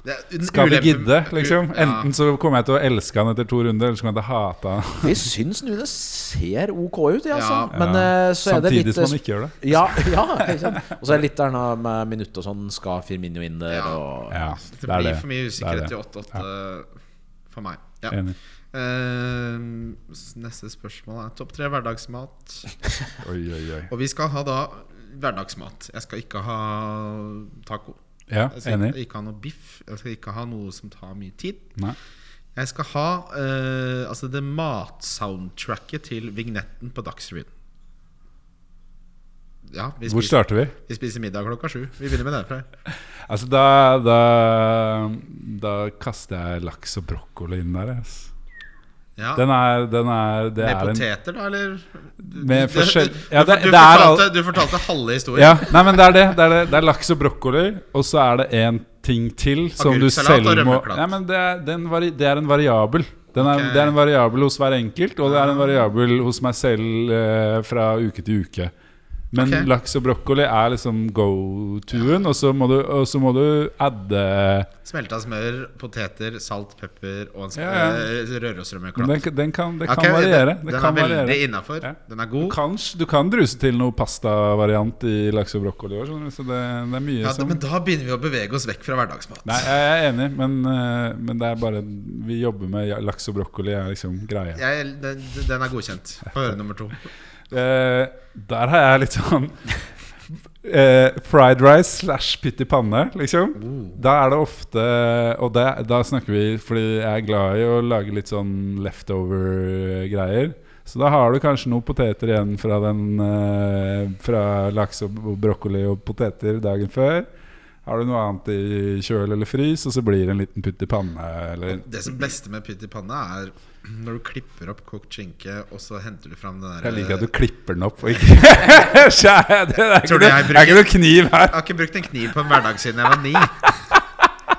C: Det er en
D: Skal vi
C: ulempe-
D: gidde, liksom?
C: Ja.
D: Enten så kommer jeg til å elske han etter to runder, eller så kommer jeg til å hate han.
A: Vi syns nå det ser ok ut, ja, altså.
C: Ja.
A: Men
D: Ja.
A: eh, så er det litt
D: Samtidig som han ikke gjør det.
A: Ja, ja ikke sant? Og så er det litt der nå med minutt og sånn. Skal Firmino inn der?
C: Ja.
A: Og
D: Ja,
C: Det
D: det er
C: blir
D: det.
C: for mye
D: Det
C: usikkerhet i
D: er det.
C: 8-8 for meg. Ja.
D: Enig.
C: Eh, s- neste spørsmål er topp tre hverdagsmat.
D: Oi, oi, oi.
C: Og vi skal ha da hverdagsmat. Jeg skal ikke ha taco.
D: Ja,
C: Jeg skal
D: enig.
C: ikke, ikke ha noe biff. Jeg skal ikke ha noe som tar mye tid.
D: Nei.
C: Jeg skal ha eh, altså det matsoundtracket til vignetten på Dagsrevyen. Ja, vi
D: Hvor
C: spiser,
D: starter vi?
C: vi spiser middag klokka sju. Vi begynner med det. Frey.
D: Altså, da, da, da kaster jeg laks og brokkoli inn der. ass.
C: Ja.
D: Den er, den er, det
C: Med
D: er en
C: poteter, da, eller?
D: Med forskjell-
C: Du-
D: Ja,
C: du,
D: det-
C: du,
D: det er
C: fortalte,
D: all-
C: du fortalte halve historien.
D: Ja, nei, men det er det. Det er, det. det er laks og brokkoli, og så er det en ting til som du
C: Agurksalat
D: selv
C: og
D: må
C: rømmeklatt.
D: Nei, men det er, den vari, det er en variabel. Den er,
C: Ok. Ah.
D: Det er en variabel hos hver enkelt, og det er en variabel hos meg selv eh, fra uke til uke. Men
C: Ok.
D: laks og brokkoli er liksom go-to-en, og så må du, og så må du adde
C: Smelta smør, poteter, salt, pepper og en sp-
D: Ja, ja.
C: eh, rørosrømmeklatt.
D: Den, den kan, det kan
C: Ok, det-
D: variere. Det
C: den
D: kan
C: er veldig
D: variere.
C: innafor.
D: Ja.
C: Den er
D: Du
C: god.
D: kan, du kan druse til noe pastavariant i laks og brokkoli i år, skjønner du, så det, det er mye
C: Ja,
D: som
C: men da begynner vi å bevege oss vekk fra hverdagsmat.
D: Nei, jeg er enig, men, eh, men det er bare Vi jobber med ja- laks og brokkoli, er liksom greia.
C: Jeg, den, den er godkjent. Få høre nummer to.
D: Eh, der har jeg litt sånn eh, Fried rice slash pytt i panne, liksom.
C: Oh.
D: Da er det ofte Og det, da snakker vi fordi jeg er glad i å lage litt sånn leftover-greier. Så da har du kanskje noen poteter igjen fra, den, eh, fra laks og b- brokkoli og poteter dagen før. Har du noe annet i kjøl eller frys, og så blir det en liten putt i panne. Eller
C: Det som beste med pytt i panne, er når du klipper opp kokt skinke, og så henter du fram den der
D: Jeg liker at du klipper den opp og ikke Skjæ- Det er ikke,
C: Eh. Tror du
D: noe,
C: jeg
D: det er ikke
C: bruker-
D: noe kniv her.
C: Jeg har ikke brukt en kniv på en hverdag siden jeg var ni.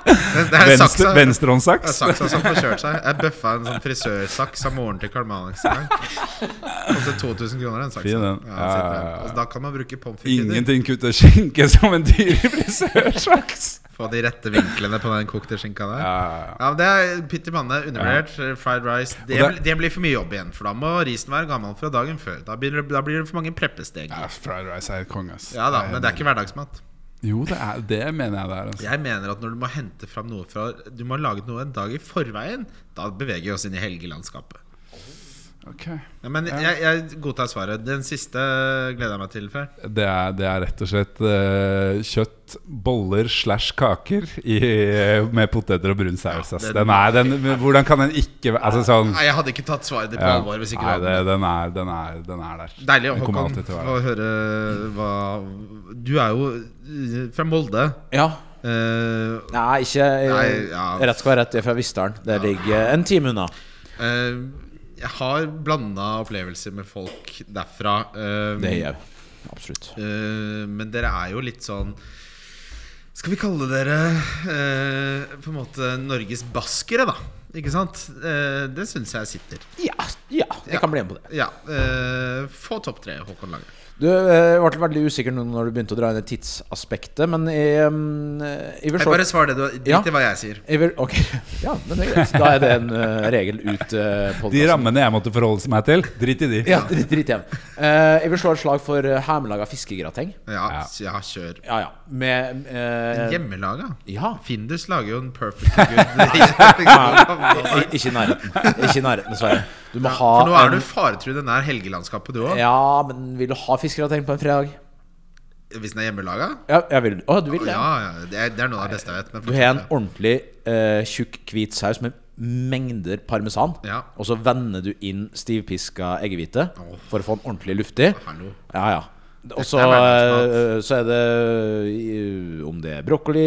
C: Det, det er
D: Venstre-
C: saksa. Det er
D: Venstrehåndssaks.
C: saksa som får kjørt seg. Jeg bøffa en sånn frisørsaks av moren til Karl Malix en gang. Kostet 2000 kroner, den saksa.
D: Fin, den.
C: Ja, den sitter
D: Ja, ja,
C: der.
D: ja.
C: Og da kan man bruke pommes frites.
D: Ingenting kutter skinke som en dyr i frisørsaks.
C: Få de rette vinklene på den kokte skinka der.
D: Ja,
C: Ja, men Det er pytt i panne, undervurdert. Fried rice. Det,
D: Og det-
C: det blir for mye jobb igjen, for da må risen være gammel fra dagen før. Da blir det, da blir det for mange preppesteg.
D: Ja, fried rice er konge, ass.
C: Ja da, men det er ikke hverdagsmat.
D: Jo, det, er, det mener jeg det er. Altså.
C: Jeg mener at når du må hente fram noe fra Du må ha laget noe en dag i forveien, da beveger vi oss inn i helgelandskapet.
D: Ok.
C: Ja, men jeg, jeg godtar svaret. Den siste gleder jeg meg til. Fer.
D: Det er, det er rett og slett eh, kjøtt, boller slash kaker i, eh, med poteter og brun saus. Ass.
C: Ja, den-
D: Den er, den, men hvordan kan den ikke være altså, sånn,
C: Nei, jeg hadde ikke tatt svaret ditt på
D: ja.
C: alvor hvis ikke
D: Nei,
C: du
D: det,
C: hadde det.
D: den, er, den, er, den er der.
C: Deilig
D: Den kommer
C: Håkon,
D: alltid til å være
C: å høre hva Du er jo eh, fra Molde.
A: ja.
C: Eh,
A: Nei, ikke
C: Nei, ja.
A: Rett skal være rett. Jeg er fra Vistdalen. Der ligger en time unna.
C: eh, jeg har blanda opplevelser med folk derfra. eh,
A: Det gjør jeg. Absolutt.
C: Eh, men dere er jo litt sånn Skal vi kalle dere eh, på en måte Norges baskere, da? Ikke sant? Eh, det syns jeg sitter.
A: Ja, ja jeg
C: Ja.
A: kan bli med på det.
C: Ja. eh, få topp tre, Håkon Lange.
A: Du eh, ble veldig usikker nå når du begynte å dra inn det tidsaspektet, men jeg, mm, jeg vil
C: Jeg
A: se
C: bare svar det du Drit
A: Ja.
C: i hva jeg sier.
A: jeg vil, Ok, ja, men det er greit. Da er det en eh, regel ut uh,
D: De rammene jeg måtte forholde meg til, drit i de.
A: Ja, drit, drit igjen. Eh, jeg vil slå et slag for eh, hjemmelaga fiskegrateng.
C: Ja,
D: Ja.
C: s- ja kjør.
A: Ja, ja. Med eh,
C: Hjemmelaga?
A: Ja.
C: Findus lager jo en perfect good
A: I- Ikke i nærheten. Ikke i nærheten, dessverre. Du må ha
C: For nå er
A: en-
C: du faretruende nær helgelandskapet, du òg.
A: Ja, men vil du ha fiskegrateng på en fredag?
C: Hvis den er hjemmelaga?
A: Ja, jeg vil Å, du vil det?
C: Ja,
A: Ja.
C: ja. Det er, det er noe av det beste jeg vet. men
A: Du har en
C: fortsett.
A: ordentlig eh, tjukk, hvit saus med mengder parmesan.
C: Ja.
A: Og så vender du inn stivpiska eggehvite
C: Åh.
A: for å få den ordentlig luftig.
C: Hallo.
A: Ja, ja. Og så,
C: er hverdagsmat.
A: eh, så er det eh, om det er brokkoli,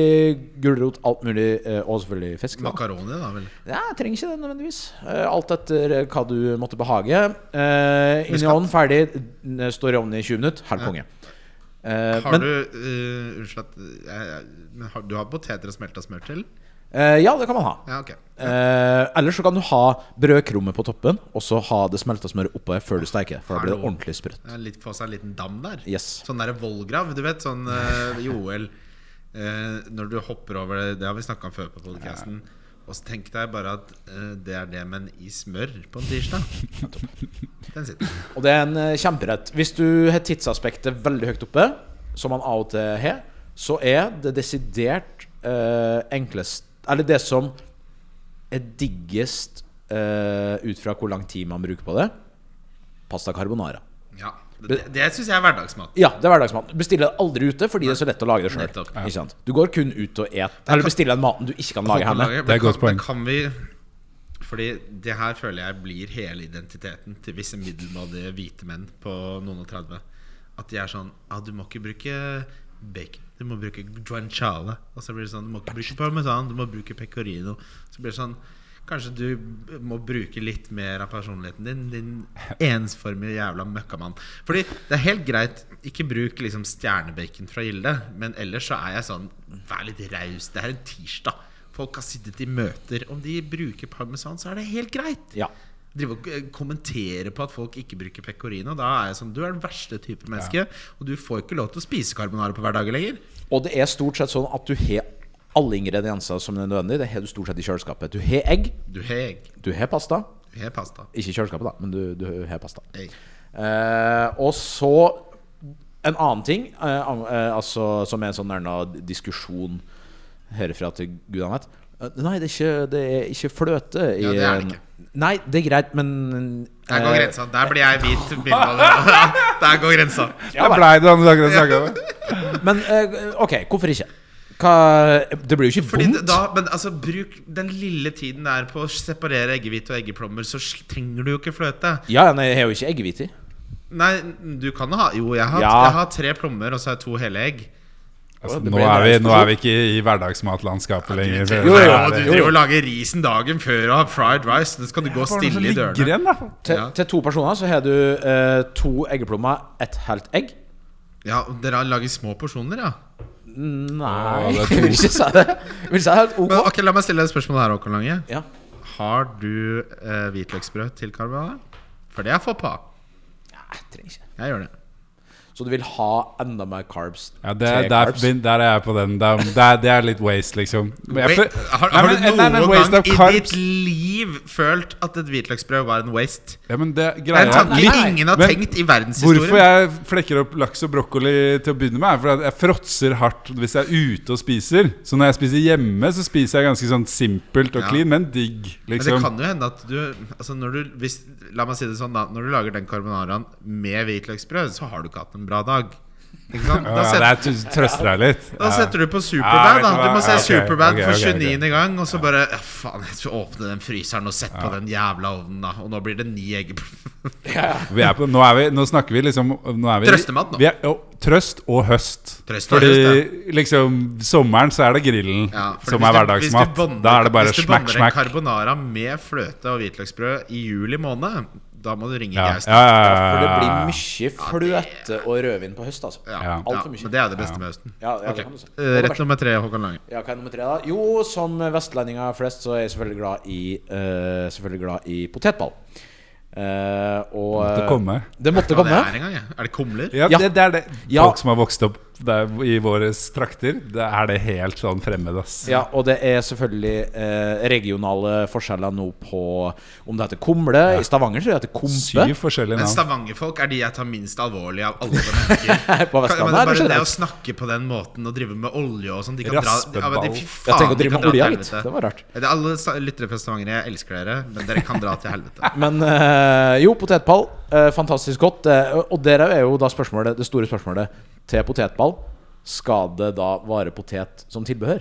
A: gulrot, alt mulig, eh, og selvfølgelig fisk. Da.
C: Makaroni, da vel.
A: Ja, jeg trenger ikke det nødvendigvis. Eh, Alt etter eh, hva du måtte behage. Eh, Inn i
C: skal-
A: ovnen, ferdig. n- Står i ovnen i 20 minutter. Helt konge. Eh,
C: Har
A: men
C: du eh, Unnskyld at jeg, jeg- Men har, du har poteter og smelta smør til?
A: Eh, ja, det kan man ha.
C: Ja, ok.
A: Eh, ellers så kan du ha brødkrummet på toppen, og så ha det smelta smøret oppå her før du steker. det, For da blir det
C: Hallo.
A: ordentlig sprøtt.
C: Det er litt, få seg en liten dam der.
A: Yes.
C: Sånn derre vollgrav, du vet. Sånn eh, Joel eh, Når du hopper over det Det har vi snakka om før på podkasten. Og så tenk deg bare at eh, det er det, men i smør på en tirsdag. Den sitter.
A: Og det er en eh, kjemperett. Hvis du har tidsaspektet veldig høyt oppe, som man av og til har, så er det desidert eh, enklest Eller det som er diggest eh, ut fra hvor lang tid man bruker på det, pasta carbonara.
C: Ja. Det, det syns jeg er hverdagsmat.
A: Ja, det er hverdagsmat. Bestiller det aldri ute fordi det er så lett å lage det sjøl.
C: Nettopp.
A: Du går kun ut og et Eller bestiller den maten du ikke kan lage hjemme.
C: Folkelaget,
D: Det er et
C: men
D: godt
C: kan-
D: poeng.
C: men Kan vi fordi det her føler jeg blir hele identiteten til visse middelmådige hvite menn på noen og 30. At de er sånn Ja, du må ikke bruke bacon. Du må bruke guanciale. Og så blir det sånn Du må ikke bruke parmesan. Du må bruke pecorino. Så blir det sånn Kanskje du b- må bruke litt mer av personligheten din, din ensformige jævla møkkamann. Fordi det er helt greit, ikke bruk liksom stjernebacon fra Gilde, men ellers så er jeg sånn Vær litt raus. Det er en tirsdag. Folk har sittet i møter. Om de bruker parmesan, så er det helt greit.
A: Ja.
C: Drive og eh, kommentere på at folk ikke bruker pecorino. Da er jeg sånn Du er den verste type menneske, og du får ikke lov til å spise carbonara på hverdagen lenger.
A: Og det er stort sett sånn at du har alle ingredienser som er nødvendig. Det har du stort sett i kjøleskapet. Du har egg,
C: Du har egg.
A: du har pasta.
C: Du har pasta.
A: Ikke i kjøleskapet, da, men du, du har pasta.
C: Egg.
A: Eh, og så en annen ting, eh, an- eh, altså, som er en sånn nærna diskusjon herfra til gud han vet. Eh, Nei, det er ikke, det er ikke fløte i
C: Ja, det er det ikke.
A: Nei, det er greit, men
C: Der går
A: eh,
C: grensa. Der blir jeg hvit. middelmådig. Der går grensa.
A: Ja,
D: det blei det han snakka om.
A: Men eh, ok, hvorfor ikke? Hva, det blir jo ikke
C: Fordi
A: vondt.
C: da, men altså, bruk den lille tiden der på å separere eggehvite og eggeplommer, så sl- trenger du jo ikke fløte.
A: Ja, nei, jeg har jo ikke eggehvite i.
C: Nei, du kan ha Jo, jeg har,
A: Ja.
C: jeg har tre plommer, og så har jeg to hele egg.
D: Altså,
A: Det
D: nå,
A: ble en
D: er vi,
A: reisesjon.
D: nå er vi ikke i hverdagsmatlandskapet lenger.
C: Jo,
A: jo, jo,
C: du
A: jo, jo.
C: driver og lager risen dagen før og har fried rice. Da skal du gå stille i dørene.
A: Til,
C: Ja.
A: til to personer så har du eh, to eggeplommer, ett helt egg.
C: Ja, Dere lager små porsjoner, ja?
A: Nei,
D: det er to.
A: jeg vil ikke si det. Jeg vil si det helt ok.
C: Men, ok, La meg stille deg et spørsmål her, Håkon Lange.
A: Ja.
C: Har du eh, hvitløksbrød til carbonara? For det er foppa.
A: Nei, jeg trenger ikke.
C: Jeg gjør det.
A: Så du vil ha enda mer carbs?
D: Ja, det,
A: til
D: der,
A: carbs?
D: der er jeg på den. Det er, det er, det er litt waste, liksom. Men jeg
C: Wait,
D: føl-
C: har,
D: Nei,
C: har
D: men-
C: du
D: nei, men
C: noen
D: waste
C: gang
D: of
C: i
D: carbs-
C: ditt liv følt at et hvitløksbrød var en waste?
D: Ja, men det,
C: Det er
D: greia,
C: en tanke
A: Nei, nei.
C: ingen har
D: Men
C: tenkt i
D: Hvorfor
C: verdenshistorien.
D: jeg flekker opp laks og brokkoli til å begynne med, er fordi at jeg fråtser hardt hvis jeg er ute og spiser. Så når jeg spiser hjemme, så spiser jeg ganske sånn simpelt og
C: Ja.
D: clean, men digg.
C: Men det
D: liksom
C: kan jo hende at du, altså når du hvis, La meg si det sånn, da. Når du lager den carbonaraen med hvitløksbrød, så har du ikke hatt en bra dag. Ikke sant? Da
D: ja,
C: setter-
D: det er, t- trøster deg litt.
C: Da
D: Ja.
C: setter du på Superbad,
D: Ja, vet
C: da.
D: du hva?
C: Du må se
D: Ja, ok,
C: Superbad
D: ok,
C: for
D: ok, ok.
C: 29. gang, og så bare ja, Faen, jeg skal åpne den fryseren og sette på den jævla ovnen, da. Og nå blir det ni egg
D: Vi er på, nå, er vi, nå snakker vi liksom nå er vi,
C: Trøstemat nå.
D: Vi er, jo, trøst og høst.
C: Trøst og
D: Fordi
C: høst,
D: liksom sommeren så er det grillen
C: Ja, for
D: som
C: hvis
D: er
C: du- hvis
D: hverdagsmat.
C: du bonder-
D: Da er det bare
C: hvis du
D: smack,
C: bonder
D: smack.
C: en carbonara med fløte og hvitløksbrød i juli måned, da må du ringe
D: Ja,
C: Gaust.
D: ja, ja, ja,
A: For det blir
D: ja, ja.
A: mye fløte og rødvin på høst, altså.
C: Ja,
D: eh, Ja.
C: ja,
A: Alt for mye.
C: men det er det beste med høsten.
A: Ja, ja, det
C: Ok,
A: kan du si.
C: eh, Rett nummer tre, Håkon Lange.
A: Ja, hva er nummer tre, da? Jo, som vestlendinger flest så er jeg selvfølgelig glad i, eh, selvfølgelig glad i potetball. Eh, og
D: Måtte komme.
A: Det måtte
C: Ja, det
A: komme.
C: er en gang, ja. Er det kumler?
D: Ja,
A: Ja.
D: Det, det er det.
A: Ja.
D: Folk som har vokst opp der, i våre trakter, det er det helt sånn fremmed, ass.
A: Ja, og det er selvfølgelig eh, regionale forskjeller nå på om det heter kumle. I Stavanger så heter det kompe.
D: Syv forskjellige
C: Men
D: navn.
C: Stavangerfolk er de jeg tar minst alvorlig av alle mennesker.
A: På
C: Kan,
A: Vestlandet er det
C: men bare det å
A: generelt.
C: snakke på den måten og drive med olje og sånn de kan dra, ja, men de,
D: Raspeball.
C: fy
A: Jeg
C: faen,
A: tenker å
C: de
A: drive
C: kan
A: med
C: dra til
A: olja, gitt.
C: helvete.
A: Det var rart.
C: Ja, Det er alle sa- lyttere fra Stavanger, jeg elsker dere, men dere kan dra til helvete.
A: Men eh, jo, potetball. eh, fantastisk godt. eh, og der er jo da spørsmålet, det store spørsmålet til potetball. Skal det da være potet som tilbehør?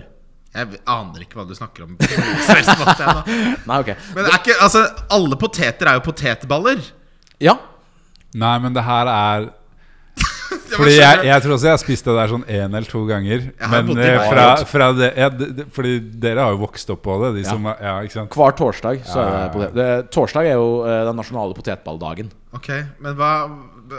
C: Jeg aner ikke hva du snakker om. på noen som helst måte, jeg, da.
A: Nei, ok.
C: Men er ikke, altså, alle poteter er jo potetballer.
A: Ja.
D: Nei, men det her er
C: Ja, men
D: Fordi
C: skjønner
D: jeg,
C: du?
D: jeg tror også jeg har spist det der sånn én eller to ganger.
C: har bodd
D: Men
C: i
D: eh,
C: Bali
D: fra,
C: også.
D: fra det, ja, det, det Fordi dere har jo vokst opp på det, de som Ja, ikke sant?
A: Hver torsdag så er
D: Ja, ja,
A: det
D: ja.
A: potet. Det, torsdag er jo eh, den nasjonale potetballdagen.
C: Ok, men hva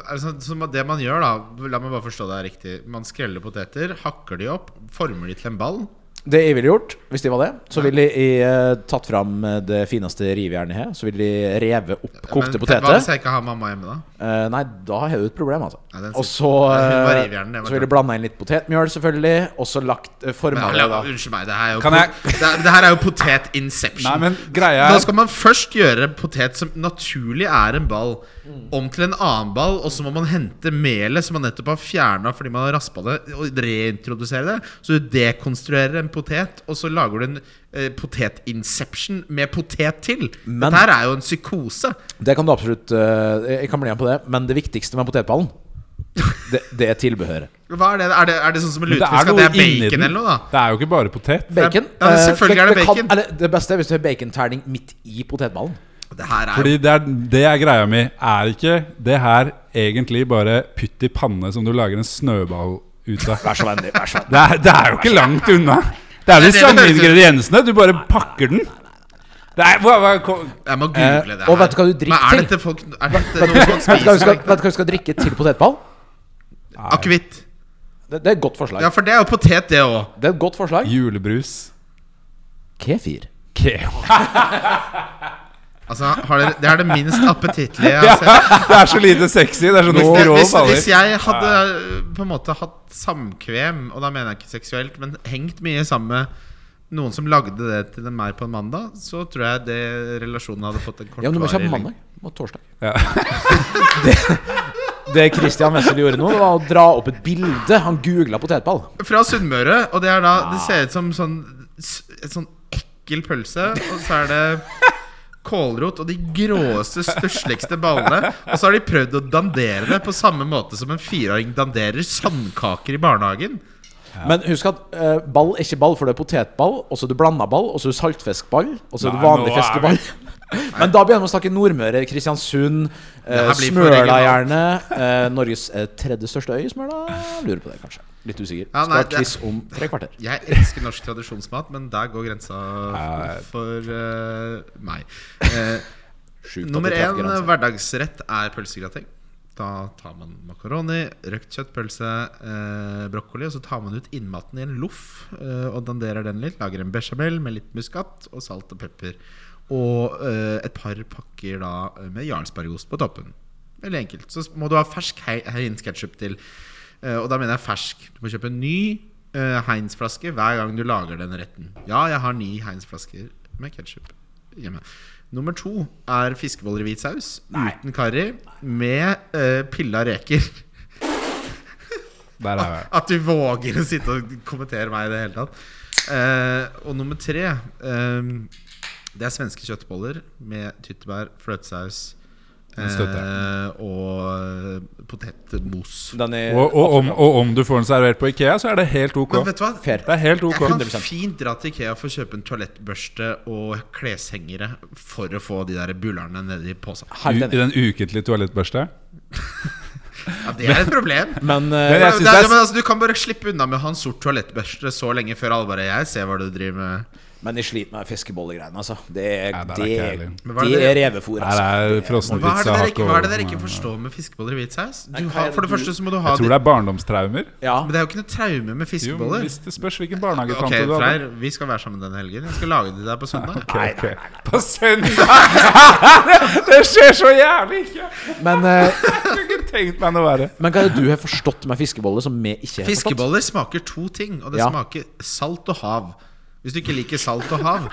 C: er det sånn, som det man gjør, da La meg bare forstå det her riktig. Man skreller poteter, hakker de opp, former de til en ball.
A: Det jeg ville gjort, hvis de var det, så ville jeg eh, tatt fram eh, det fineste rivejernet her. Så ville de reve opp kokte
C: Men Hva hvis
A: poteter.
C: jeg ikke har mamma hjemme, da?
A: Eh, nei, da har jeg jo et problem, altså.
C: Nei, den
A: Og
C: sitter-
A: så
C: Hun var
A: eh,
C: rivjernet, det var
A: Så ville
C: klart.
A: jeg blanda inn litt potetmjøl, selvfølgelig. Og så lagt eh,
C: Men,
A: forma det,
C: alle-
A: da.
C: unnskyld meg, det her er jo,
D: Kan
C: po-
D: jeg-
C: det, er- det her er jo potet-inception.
D: Nei, men greia
C: Da
D: er
C: skal man først gjøre potet som naturlig er en ball, om til en annen ball, og så må man hente melet som man nettopp har fjerna fordi man har raspa det, og reintrodusere det. Så du dekonstruerer en potet, og så lager du en eh, potet-inception med potet til.
A: Men-
C: Dette her er jo en psykose.
A: Det kan du absolutt eh, Jeg kan bli med på det, men det viktigste med potetballen, det, det er tilbehøret.
C: Hva er det? Er det, er det sånn som med
D: Men det
C: lutefisk,
D: er
C: at
D: noe
C: det er
D: inni
C: bacon
D: den.
C: eller noe, da?
D: Det er jo ikke bare potet.
A: Bacon.
C: Ja,
A: eh,
C: selvfølgelig er det bacon.
A: Kan, eller, det beste er hvis du har baconterning midt i potetballen.
C: Det her er
D: Fordi det er, det er greia mi. Er ikke det her egentlig bare pytt i panne som du lager en snøball ut av?
A: Vær så vennlig. Vær så vennlig.
D: Det er, det er jo ikke langt unna. Det er de
C: det høres
D: samme
C: ut-
D: ingrediensene. Du bare pakker den. Det er, hva, hva, ko-
C: Jeg må google
A: Eh,
C: det
A: og vet du hva du drikker
C: Men er
A: til?
C: dette folk Er dette
A: Vet du
C: noe
A: hva vet du hva
C: folk
A: du skal,
C: spiser?
A: vet du hva du skal drikke til potetball?
C: Akevitt.
A: Det, det er et godt forslag.
C: Ja, for det er jo potet, det òg.
A: Det er et godt forslag.
D: julebrus.
A: Kefir.
D: Ke-
C: Altså, har dere, det er det minst appetittlige jeg
D: Ja,
C: har sett.
D: det er så lite sexy. Det er sånn
C: Hvis,
D: grå
C: hvis,
D: baller.
C: hvis jeg hadde eh, på en måte hatt samkvem, og da mener jeg ikke seksuelt, men hengt mye sammen med noen som lagde det til en meg på en mandag, så tror jeg det relasjonen hadde fått
A: Ja,
C: en
A: men sånn du må ikke ha
C: kortvarig
A: på mandag. Du må ha torsdag.
D: Ja.
A: Det Christian Wessel gjorde nå, det var å dra opp et bilde. Han googla potetball.
C: Fra Sunnmøre, og det er da Det ser ut som sånn s- et sånn ekkel pølse, og så er det kålrot og de gråeste, størsligste ballene. Og så har de prøvd å dandere det på samme måte som en fireåring danderer sandkaker i barnehagen.
A: Men husk at eh, ball er ikke ball, for det er potetball, og så er det blanda ball, og så er det saltfiskball, og så er det
D: Nei,
A: vanlig
D: nå er
A: fiskeball. Men da begynner vi å snakke Nordmøre, Kristiansund, eh,
C: her blir for
A: Smøla
C: regionalt.
A: gjerne. Eh, Norges eh, tredje største øy, Smøla. Lurer på det, kanskje. Litt usikker.
C: Ja,
A: Skal
C: nei,
A: ha quiz om tre kvarter.
C: Jeg elsker norsk tradisjonsmat, men der går grensa
D: Nei.
C: for eh, meg. Eh,
A: Sjukt at
C: nummer
A: vi
C: eh,
A: traff
C: én
A: grensa.
C: hverdagsrett er pølsegrateng. Da tar man makaroni, røkt kjøttpølse, eh, brokkoli, og så tar man ut innmaten i en loff eh, og danderer den litt. Lager en bechamel med litt muskat og salt og pepper. Og eh, et par pakker da eh, med jarlsbergost på toppen. Veldig enkelt. Så må du ha fersk hei- heinketchup til. Eh, og da mener jeg fersk. Du må kjøpe en ny eh, Heinz-flaske hver gang du lager den retten. Ja, jeg har ni Heinz-flasker med ketsjup hjemme. Nummer to er fiskeboller i hvit saus uten karri med eh, pilla reker.
D: Der er jeg.
C: At du våger å sitte og kommentere meg i det hele tatt. Eh, og nummer tre eh, Det er svenske kjøttboller med tyttebær, fløtesaus
D: Den støtter
C: eh, og eh, potetmos.
A: Den er
D: Og, og, om, og om du får den servert på Ikea, så er det helt ok.
C: Men vet du hva?
A: fair.
D: Det er helt ok.
C: Jeg kan
A: 100%.
C: fint dra til Ikea for å kjøpe en toalettbørste og kleshengere for å få de der bulerne nedi posen.
D: U-
A: Helt
D: I
A: enig.
D: den ukentlige toalettbørste.
C: Ja, det er et problem.
A: Men
D: Men
A: eh,
D: jeg
C: Ja,
D: synes
C: det
D: det
C: er,
D: er-
C: men altså, du kan bare slippe unna med å ha en sort toalettbørste så lenge før alle bare Jeg ser hva du driver med.
A: Men jeg sliter med fiskebollegreiene, altså. Det er,
D: Ja, der er
A: det,
D: ikke jeg
A: er,
D: heller.
C: Men hva er
A: det
C: det-
A: er revefôr,
D: Her
A: altså.
D: er
C: Hva er det
D: frossenpizza
C: dere
D: hakk
C: ikke, hva er det dere ikke
D: og-
C: forstår med fiskeboller i hvit saus? Du
A: Nei, hva er
C: har,
A: det
C: for det
A: du-
C: første så må du ha
D: Jeg tror
C: de,
D: det er barndomstraumer.
A: Ja.
C: Men det er jo ikke noe traume med
D: Jo,
C: fiskeboller.
D: hvis det spørs hvilken
C: Ok,
D: barnehagetante du hadde.
C: Freyr, vi skal være sammen denne helgen. Jeg skal lage de der på søndag.
D: Ok, ok. På søndag! det skjer så jævlig ikke!
A: Men, eh,
D: Jeg kunne ikke tenkt meg noe verre.
A: men hva er det du har forstått med fiskeboller som vi ikke har forstått?
C: Fiskeboller smaker to ting, og det
A: Ja.
C: smaker salt og hav. Hvis du ikke liker salt og hav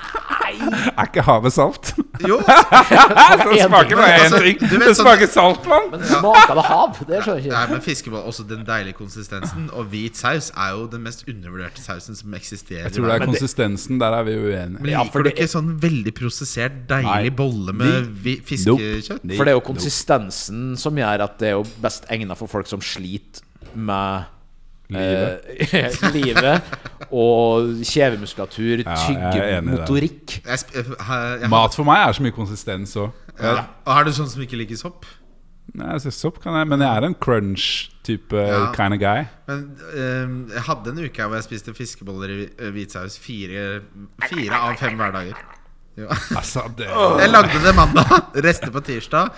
D: Er ikke havet salt?
C: Jo,
D: Det smaker bare én
C: Altså,
D: ting.
C: du vet
D: Det
C: sånn-
D: smaker saltvann.
A: Men smaker det hav? Det skjønner jeg ikke.
C: Nei, men fiskeboll, også den deilige konsistensen. Og hvit saus er jo den mest undervurderte sausen som eksisterer.
D: Jeg tror det er
A: Men det-
D: konsistensen. Der er vi uenige.
C: men
A: Ja, for
C: liker du
A: det-
C: ikke sånn veldig prosessert, deilig
D: Nei.
C: bolle med vi, fiskekjøtt?
A: For det er jo konsistensen som gjør at det er jo best egnet for folk som sliter med
D: Livet.
A: eh, livet og kjevemuskulatur,
D: Ja, jeg er
A: tygge,
D: enig i det.
A: motorikk.
C: Jeg, sp- jeg, jeg,
D: Mat for meg er så mye konsistens òg.
C: Ja. Og er du sånn som ikke liker sopp?
D: Sopp kan jeg, men jeg er en crunch-type
C: Ja.
D: kind of guy.
C: Men ehm, jeg hadde en uke hvor jeg spiste fiskeboller i hvi- hvit saus fire, fire av fem hverdager. Jo.
D: Altså, det
C: Jeg lagde det mandag, rester på tirsdag.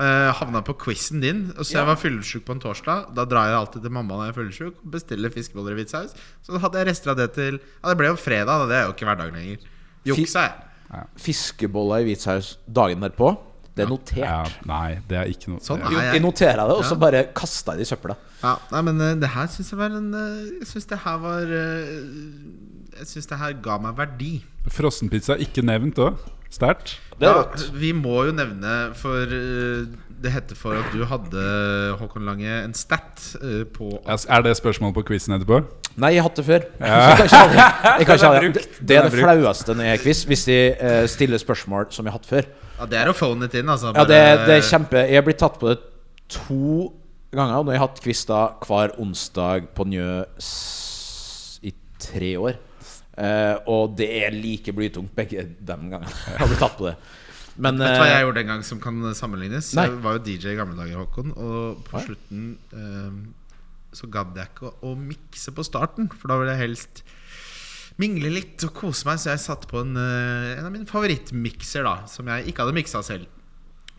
C: eh, havna på quizen din. Og så
A: Ja.
C: jeg var fyllesyk på en torsdag. Da drar jeg alltid til mamma når jeg er fyllesyk, bestiller fiskeboller i hvit saus. Så da hadde jeg rester av det til Ja, det ble jo fredag, da. Det er jo ikke hverdagen lenger. Juksa, jeg.
A: Fiskeboller i hvit saus dagen derpå. Det er notert.
D: Ja, nei, det er ikke noe
C: Sånn
D: det-
A: Jo,
C: Nei, jeg-
A: jeg notera det, og så
C: Ja.
A: bare kasta jeg det i søpla.
C: Ja, nei, men eh, det her syns jeg var en eh, Jeg syns det her var eh, Jeg syns det her ga meg verdi.
D: Frossenpizza er ikke nevnt òg. Sterkt.
A: Det er
C: Ja,
A: rått.
C: vi må jo nevne, for eh, det heter for at du hadde, Håkon Lange, en stat eh, på
D: Ja, s- Er det spørsmål på quizen etterpå?
A: Nei, jeg har hatt det før. Så jeg kan ikke ha det. Jeg kan ikke ha det. Det- Det er
D: Den
A: det
D: er
A: flaueste når jeg er quiz, hvis de eh, stiller spørsmål som jeg har hatt før.
C: Ja, det er å phone it in, altså.
A: Ja, det,
C: bare-
A: det er kjempe Jeg har blitt tatt på det to ganger. Og nå har jeg hatt quiz da hver onsdag på Njø s- i tre år. Eh, og det er like blytungt begge de gangene jeg har blitt tatt på det. Men
C: Vet du hva jeg
A: eh,
C: gjorde en gang som kan sammenlignes?
A: Nei.
C: Jeg var jo DJ i gamle dager, Håkon, og på
A: Oi.
C: slutten eh, så gadd jeg ikke å, å mikse på starten, for da ville jeg helst mingle litt og kose meg, så jeg satte på en, eh, en av mine favorittmikser, da, som jeg ikke hadde miksa selv.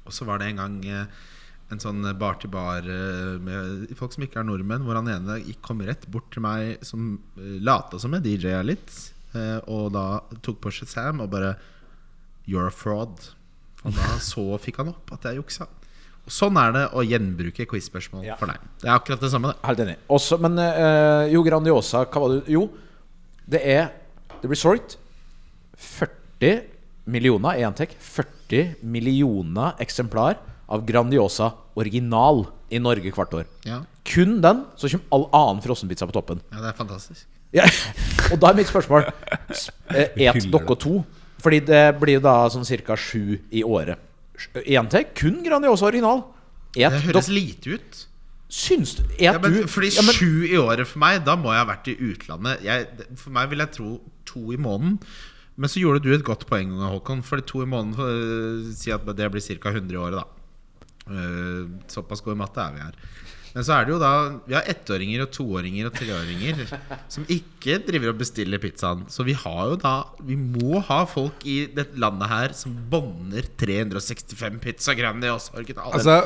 C: Og så var det en gang eh, en sånn bar-til-bar eh, med folk som ikke er nordmenn, hvor han ene gikk- kom rett bort til meg som eh, lata som jeg DJ-a litt, eh, og da tok på Shazam og bare You're a fraud. Og da så fikk han opp at jeg juksa. Og sånn er det å gjenbruke quiz-spørsmål
A: Ja.
C: for deg. Det er akkurat det samme, det.
A: Helt enig. Også, men eh, jo, Grandiosa, hva var det Jo, det er Det blir solgt 40 millioner i Antec. 40 millioner eksemplar av Grandiosa original i Norge hvert år.
C: Ja,
A: Kun den, så kommer all annen frossenpizza på toppen.
C: ja det er fantastisk.
A: Ja. Og da er mitt spørsmål s- eh, Et
D: Hyller
A: dere
D: det.
A: to? Fordi det blir jo da sånn ca. sju i året. Én til. Kun Grandiosa original. Et
C: Det høres
A: dere
C: lite ut.
A: Syns du Et
C: Ja, men,
A: du
C: fordi
A: Ja, men-
C: sju i året for meg, da må jeg ha vært i utlandet. Jeg, det- for meg vil jeg tro to i måneden. Men så gjorde du et godt poeng, Håkon. Fordi to i måneden øh, Si at det blir ca. 100 i året, da. Øh, såpass god i matte er vi her. Men så er det jo da Vi har ettåringer og toåringer og treåringer som ikke driver og bestiller pizzaen. Så vi har jo da Vi må ha folk i dette landet her som bånder 365 pizza Grandiosa original.
D: Altså,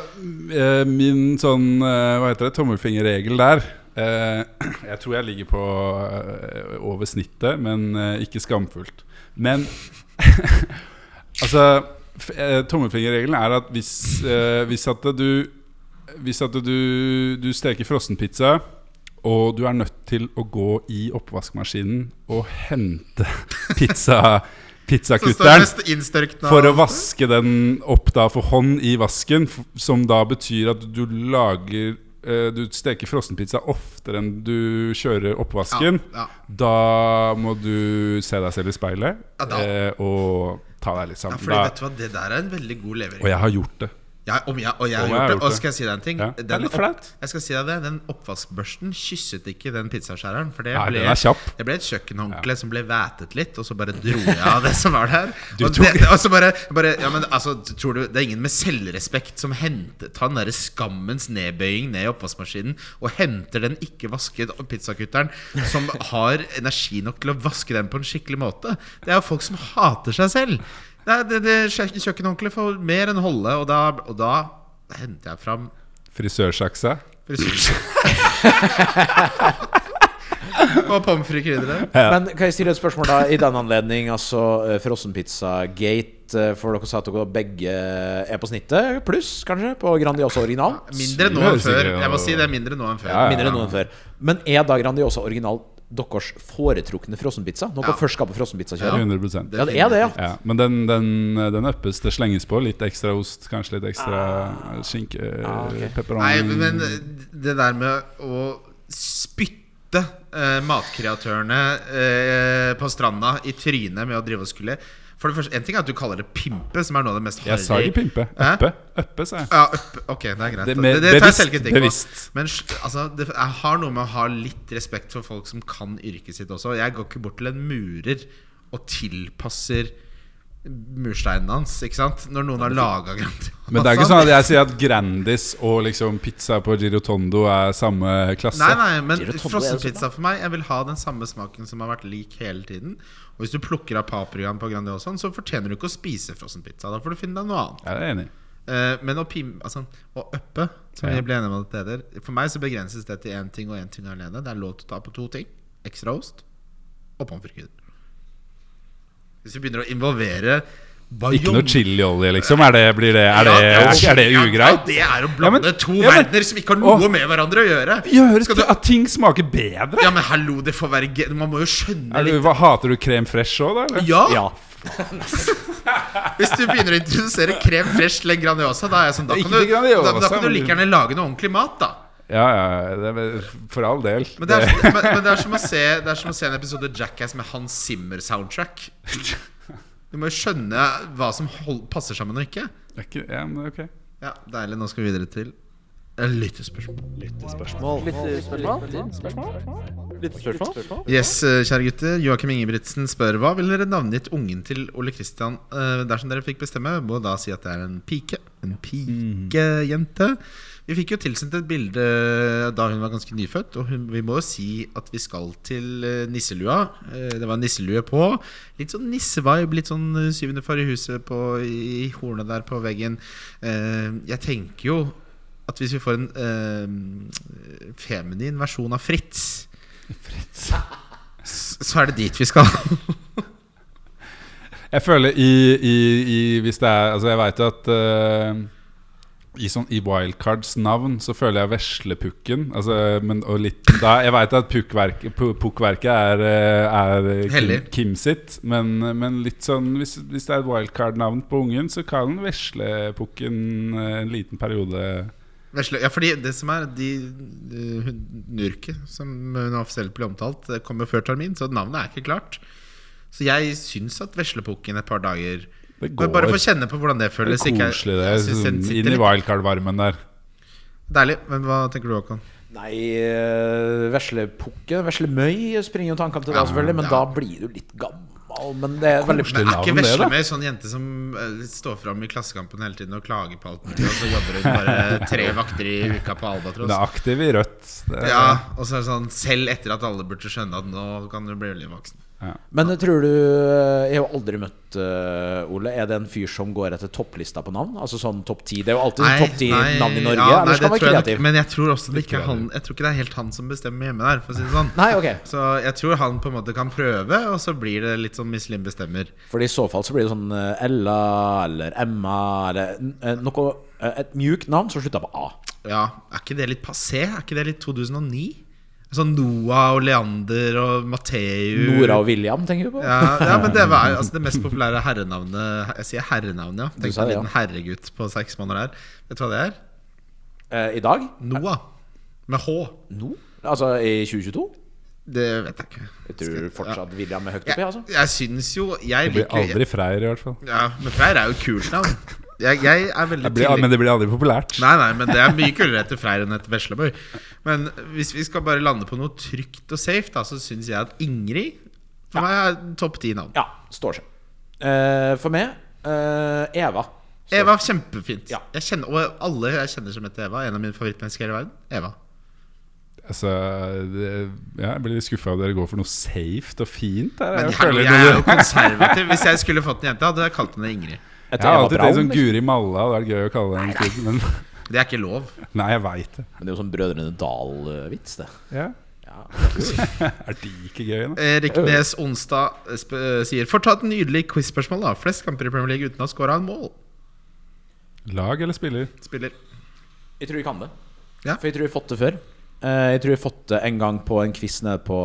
D: eh, min sånn eh, Hva heter det? Tommelfingerregel der. eh, Jeg tror jeg ligger på eh, over snittet, men eh, ikke skamfullt. Men altså f- eh, Tommelfingerregelen er at hvis, eh, hvis at du Hvis at du, du steker frossenpizza og du er nødt til å gå i oppvaskmaskinen og hente pizza,
C: så står
D: pizzakutteren
C: det innstørkna
D: for å vaske den opp da for hånd i vasken, f- som da betyr at du lager eh, Du steker frossenpizza oftere enn du kjører oppvasken.
C: Ja, ja.
D: Da må du se deg selv i speilet
C: Ja, da.
D: eh, og ta deg litt
C: Ja,
D: sammen.
C: fordi
D: Da-
C: vet du hva, Det der er en veldig god
D: og
C: levering.
D: jeg har gjort det.
C: Jeg, om jeg, og jeg har
D: Om
C: gjort det. Og skal jeg si deg en ting?
D: Ja. Det er
C: Den
D: litt
C: opp-
D: flaut.
C: Jeg skal si deg det Den oppvaskbørsten kysset ikke den pizzaskjæreren. For det
D: Nei,
C: ble,
D: den er kjapp.
C: det ble et kjøkkenhåndkle som ble vætet litt, og så bare dro jeg av det som var der.
D: Du
C: Og,
D: tok-
C: det, og så bare, bare Ja, men altså, tror du det er ingen med selvrespekt som hentet Ta den derre skammens nedbøying ned i oppvaskmaskinen og henter den ikke-vasket pizzakutteren som har energi nok til å vaske den på en skikkelig måte? Det er jo folk som hater seg selv. Nei, det, det kjø- Kjøkkenhåndkleet får mer enn holde, og da, og da henter jeg fram
D: Frisørsaksa.
C: frisør. og pommes frites krydderet.
A: Men kan jeg stille et spørsmål da i den anledning? Altså eh, Frossenpizza-gate. eh, For dere sa at dere begge er på snittet, pluss kanskje, på Grandiosa original.
C: Mindre nå
D: Smør
C: enn før.
D: sikkert, ja.
C: Jeg må si det er mindre nå enn før.
D: Ja, ja.
A: Mindre enn noen før. Men er da Grandiosa original deres foretrukne frossenpizza? Når dere
C: Ja.
A: først skal på frossenpizzakjøret?
D: 100
A: Ja, det er det, ja.
D: Ja, men den, den, den øppes. Det slenges på litt ekstra ost, kanskje litt ekstra skinke,
A: Ah, ok.
D: pepperoni
C: Nei, men det der med å spytte eh, matkreatørene eh, på stranda i trynet med å drive og skulle For det første, En ting er at du kaller det pimpe, som er noe av det mest
D: Jeg sa
C: harry-
D: ikke pimpe.
C: Hæ?
D: Øppe, øppe sa jeg.
C: Ja, opp, ok, det er
D: Det-
C: greit. Det,
D: med-
C: det, tar jeg
D: bevisst,
C: selvkritikk på.
D: bevisst.
C: Men sj- altså, det, jeg har noe med å ha litt respekt for folk som kan yrket sitt også. Jeg går ikke bort til en murer og tilpasser mursteinen hans, ikke sant? Når noen har laga
D: Men det er ikke sånn at jeg sier at Grandis og liksom pizza på Giro Tondo er samme klasse.
C: Nei, nei, men
A: Giro Tondo er
D: altså.
C: frossenpizza for meg Jeg vil ha den samme smaken som har vært lik hele tiden. Og hvis du plukker av paprikaen på Grandiosaen, så fortjener du ikke å spise frossenpizza. Da får du finne deg noe annet.
D: Jeg er enig.
C: Eh, men å pim, altså, å uppe, som
D: Ja.
C: vi ble enige om at det heter For meg så begrenses det til én ting og én ting alene. Det er lov til å ta på to ting. Ekstra ost og pommes frites. Hvis vi begynner å involvere
D: Ikke noe chiliolje, liksom? Er det, blir det, er det, er, er det ugreit?
C: Ja, det er
D: Ja,
C: å blande
D: men-
C: to
D: ja, men-
C: verdener som ikke har noe
D: Åh.
C: med hverandre å gjøre.
D: Gjøres
C: Skal du,
D: det at ting smaker bedre?
C: ja, men hallo, det får være ge- Man må jo skjønne
D: Er du,
C: litt.
D: hva, hater du krem fresh òg, da? Eller?
C: Ja,
A: Ja.
C: Hvis du begynner å introdusere krem fresh eller Grandiosa, da, er jeg sånn, da,
D: Ikke
C: kan du,
D: til Grandiosa,
C: da, da kan du
D: men-
C: like gjerne lage noe ordentlig mat, da.
D: Ja, ja, det er, for all del.
C: Men det, er, men, men det, er som å se, det er som å se en episode Jackass med Hans Zimmer-soundtrack. Du må jo skjønne hva som hold, passer sammen og ikke.
D: Det er ikke, ja, men, ok.
C: Ja, Deilig. Nå skal vi videre til eh, lyttespørsmål. Yes, eh, kjære gutter. Joakim Ingebrigtsen spør hva ville dere navngitt ungen til Ole Kristian eh, dersom dere fikk bestemme? Må da si at det er en pike. En pikejente. Vi fikk jo tilsendt et bilde eh, da hun var ganske nyfødt, og hun, vi må jo si at vi skal til eh, nisselua. Eh, Det var nisselue på. Litt sånn nissevibe, litt sånn eh, syvende far i huset på, i hornet der på veggen. Eh, Jeg tenker jo at hvis vi får en eh, feminin versjon av Fritz s- så er det dit vi skal.
D: Jeg føler i, i, i Hvis det er Altså, jeg veit at eh, i, sånn, I Wildcards navn så føler jeg veslepukken. Altså, men, og litt, da, jeg veit at pukkverk- pu- pukkverket er, eh, er Kim,
C: Hellig.
D: Kim sitt, men, men litt sånn hvis, hvis det er et wildcard-navn på ungen, så kan veslepukken eh, en liten periode
C: Vesle- Ja, fordi det som er de, eh, hun- Nurke, som hun offisielt ble omtalt, det kommer før termin, så navnet er ikke klart. Så jeg syns at Veslepukken et par dager
D: Det går.
C: Bare- Bare få kjenne på hvordan det
D: det
C: føles.
D: er koselig, det.
C: jeg synes
D: Sånn,
C: den sitter
D: inn i
C: litt-
D: wildcard-varmen der.
C: Deilig. Men hva tenker du, Håkon?
A: Nei, eh, veslepukke Veslemøy springer jo tankene til deg, selvfølgelig, men
C: ja.
A: da blir du litt gammel. Men det er veldig
C: Men er ikke
D: navn, det, da?
C: Veslemøy sånn jente som eh, står fram i Klassekampen hele tiden og klager på alt mulig, og så jobber hun bare tre vakter i uka på Albatross?
D: Hun er aktiv i rødt. Det, er-
C: Ja, og så er det sånn selv etter at alle burde skjønne at nå kan du bli veldig voksen.
A: Men tror du Jeg har jo aldri møtt eh, Ole. Er det en fyr som går etter topplista på navn? Altså sånn topp ti? Det er jo alltid sånn topp ti
C: nei,
A: navn i Norge.
C: ja, nei,
A: eller skal
C: det
A: man
C: tror
A: være
C: jeg nok-
A: kreativ?
C: Men jeg tror også det
D: Litt
C: ikke er han Jeg tror ikke det er helt han som bestemmer hjemme der, for å si det sånn.
A: Nei, ok.
C: Så jeg tror han på en måte kan prøve, og så blir det litt sånn Miss Lim bestemmer.
A: Fordi i så fall så blir det sånn eh, Ella eller Emma eller eh, noe eh, Et mjukt navn som slutter på A.
C: Ja, er ikke det litt passé? Er ikke det litt 2009? Sånn Noah og Leander og Matheu
A: Nora og William, tenker du på?
C: ja, ja, men det var jo altså, det mest populære herrenavnet Jeg sier herrenavnet, ja. Tenk
A: sa
C: på en
A: det, ja.
C: liten herregutt på seks måneder her. Vet du hva det er?
A: Eh, I dag?
C: Noah. Med H.
A: Nå? Altså i 2022?
C: Det vet jeg ikke.
A: Jeg tror fortsatt William er høyt oppi,
C: Jeg,
A: altså.
C: jeg syns jo Jeg
D: det blir
C: liker
D: aldri Freyr, i hvert fall.
C: Ja, men Freyr er jo et kult navn. Jeg, jeg er veldig
D: Det blir, men
C: tilhenger-
D: det blir aldri populært.
C: Nei, nei, men det er mye kulere etter Freyr enn etter Veslebøy. Men hvis vi skal bare lande på noe trygt og safe, da, så syns jeg at Ingrid for meg er topp ti navn.
A: Ja, står seg. Eh, for meg eh, Eva. Står-
C: Eva, kjempefint.
A: Ja.
C: Jeg kjenner, og alle jeg kjenner som heter Eva, en av mine favorittmennesker i hele verden. Eva.
D: Altså, det, ja, jeg blir litt skuffa av dere går for noe safe og fint. Der.
C: Men
D: Jeg,
C: jeg,
D: føler
C: jeg er jo
D: noe-
C: konservativ. Hvis jeg skulle fått en jente, hadde jeg kalt henne Ingrid.
A: Etter
D: jeg har
A: Eva
D: alltid tenkt
A: Braun.
D: sånn Guri Malla. Det er gøy å kalle den kiden, men
C: Det er ikke lov.
D: nei, jeg veit det.
A: Men det er jo sånn Brødrene Dal-vits, det.
D: Ja.
A: Ja.
D: Er de ikke gøye, da?
C: Erik Nes Eh, Onsdag eh, sp eh, sier Får ta et nydelig quiz-spørsmål, da. Flest kamper i Premier League uten å ha scora en mål.
D: Lag eller spiller?
C: Spiller.
A: Jeg tror vi kan det.
C: Ja.
A: For jeg tror vi har fått det før. Eh, Jeg tror vi har fått det en gang på en quiz nede på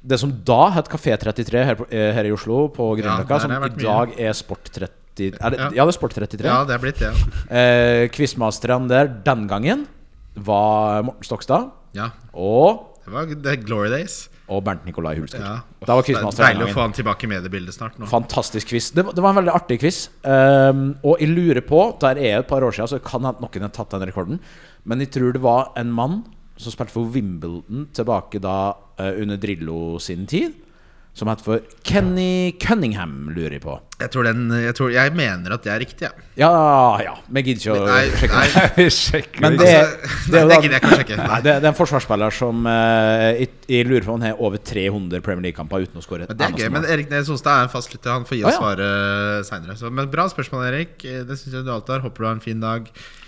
A: det som da het Kafé 33 her, på, eh, her i Oslo, på
C: der
A: Grünerløkka,
C: har
A: som
C: jeg
A: i
C: vært
A: dag er Sport 30 er det,
C: Ja.
A: ja. det er Sport 33.
C: Ja, det er blitt det. ja.
A: Eh, Quizmasterne der den gangen var Morten Stokstad
C: Ja,
A: og,
C: det var det er glory days.
A: og Bernt Nikolai Hulsker.
C: Ja.
A: Da var
C: Det er
A: quizmasteren
C: deilig
A: den
C: å
A: gangen.
C: få han tilbake i mediebildet snart. nå
A: Fantastisk quiz. Det, var- det var en veldig artig quiz. Ehm, og jeg lurer på Der er jeg et par år siden, så det kan hende noen har tatt den rekorden. Men jeg tror det var en mann som spilte for Wimbledon tilbake da eh, under Drillo sin tid, som het for Kenny Cunningham, lurer jeg på.
C: Jeg tror den Jeg, tror, jeg mener at det er riktig, jeg.
A: Ja, ja. Men jeg gidder ikke
C: Nei,
A: å sjekke.
C: nei,
D: Vi sjekker
A: Men
D: ikke.
A: det,
C: Altså,
A: det, er jo
C: nei, det
A: da-
C: gidder jeg ikke å sjekke.
A: Nei,
C: Nei.
A: det, det er en forsvarsspiller som eh, jeg- jeg lurer på om han har over 300 Premier League-kamper uten å skåre et
C: Men det er
A: eneste
C: gøy, men
A: mål.
C: Erik Nes Onstad er en fast lytter. Han får gi oss
A: sånn Å, ja.
C: svaret seinere. Men bra spørsmål, Erik. Eh, Det syns jeg du alltid har. Håper du har en fin dag.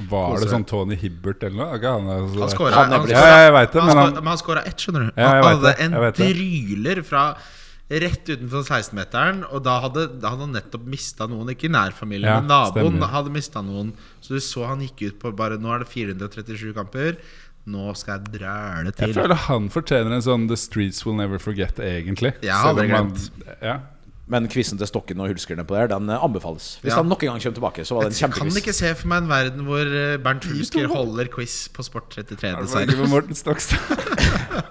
D: Var det sånn Tony Hibbert eller noe? Ikke Han, altså,
C: Han skåra
A: Han er
C: han
A: blitt-
D: Ja, jeg vet det,
C: han
D: men
C: skåra-
D: han-
C: men han skåra ett, skjønner
D: Ja,
C: du.
D: jeg
C: Han
D: vet
C: hadde
D: det,
C: en
D: jeg vet det.
C: dryler fra rett utenfor 16-meteren. Og da hadde da hadde han nettopp mista noen. Ikke nærfamilien,
D: Ja,
C: men naboen
D: stemmer.
C: hadde mista noen. Så du så han gikk ut på bare Nå er det 437 kamper. Nå skal jeg dræle
D: Jeg
C: til.
D: føler han fortjener en sånn The Streets Will Never Forget, egentlig.
C: Jeg har aldri
D: Selv om han- Ja.
A: Men quizen til Stokken og Hulskerne på der, den eh, anbefales. Hvis
C: Ja.
A: han nok en gang kommer tilbake, så var det en
C: Jeg kan ikke
A: kjempequiz.
C: se for meg en verden hvor eh, Bernt Hulsker holder quiz på Sport
D: Det
C: 33,
D: var ikke
C: dessverre.
D: med Morten Stokstad.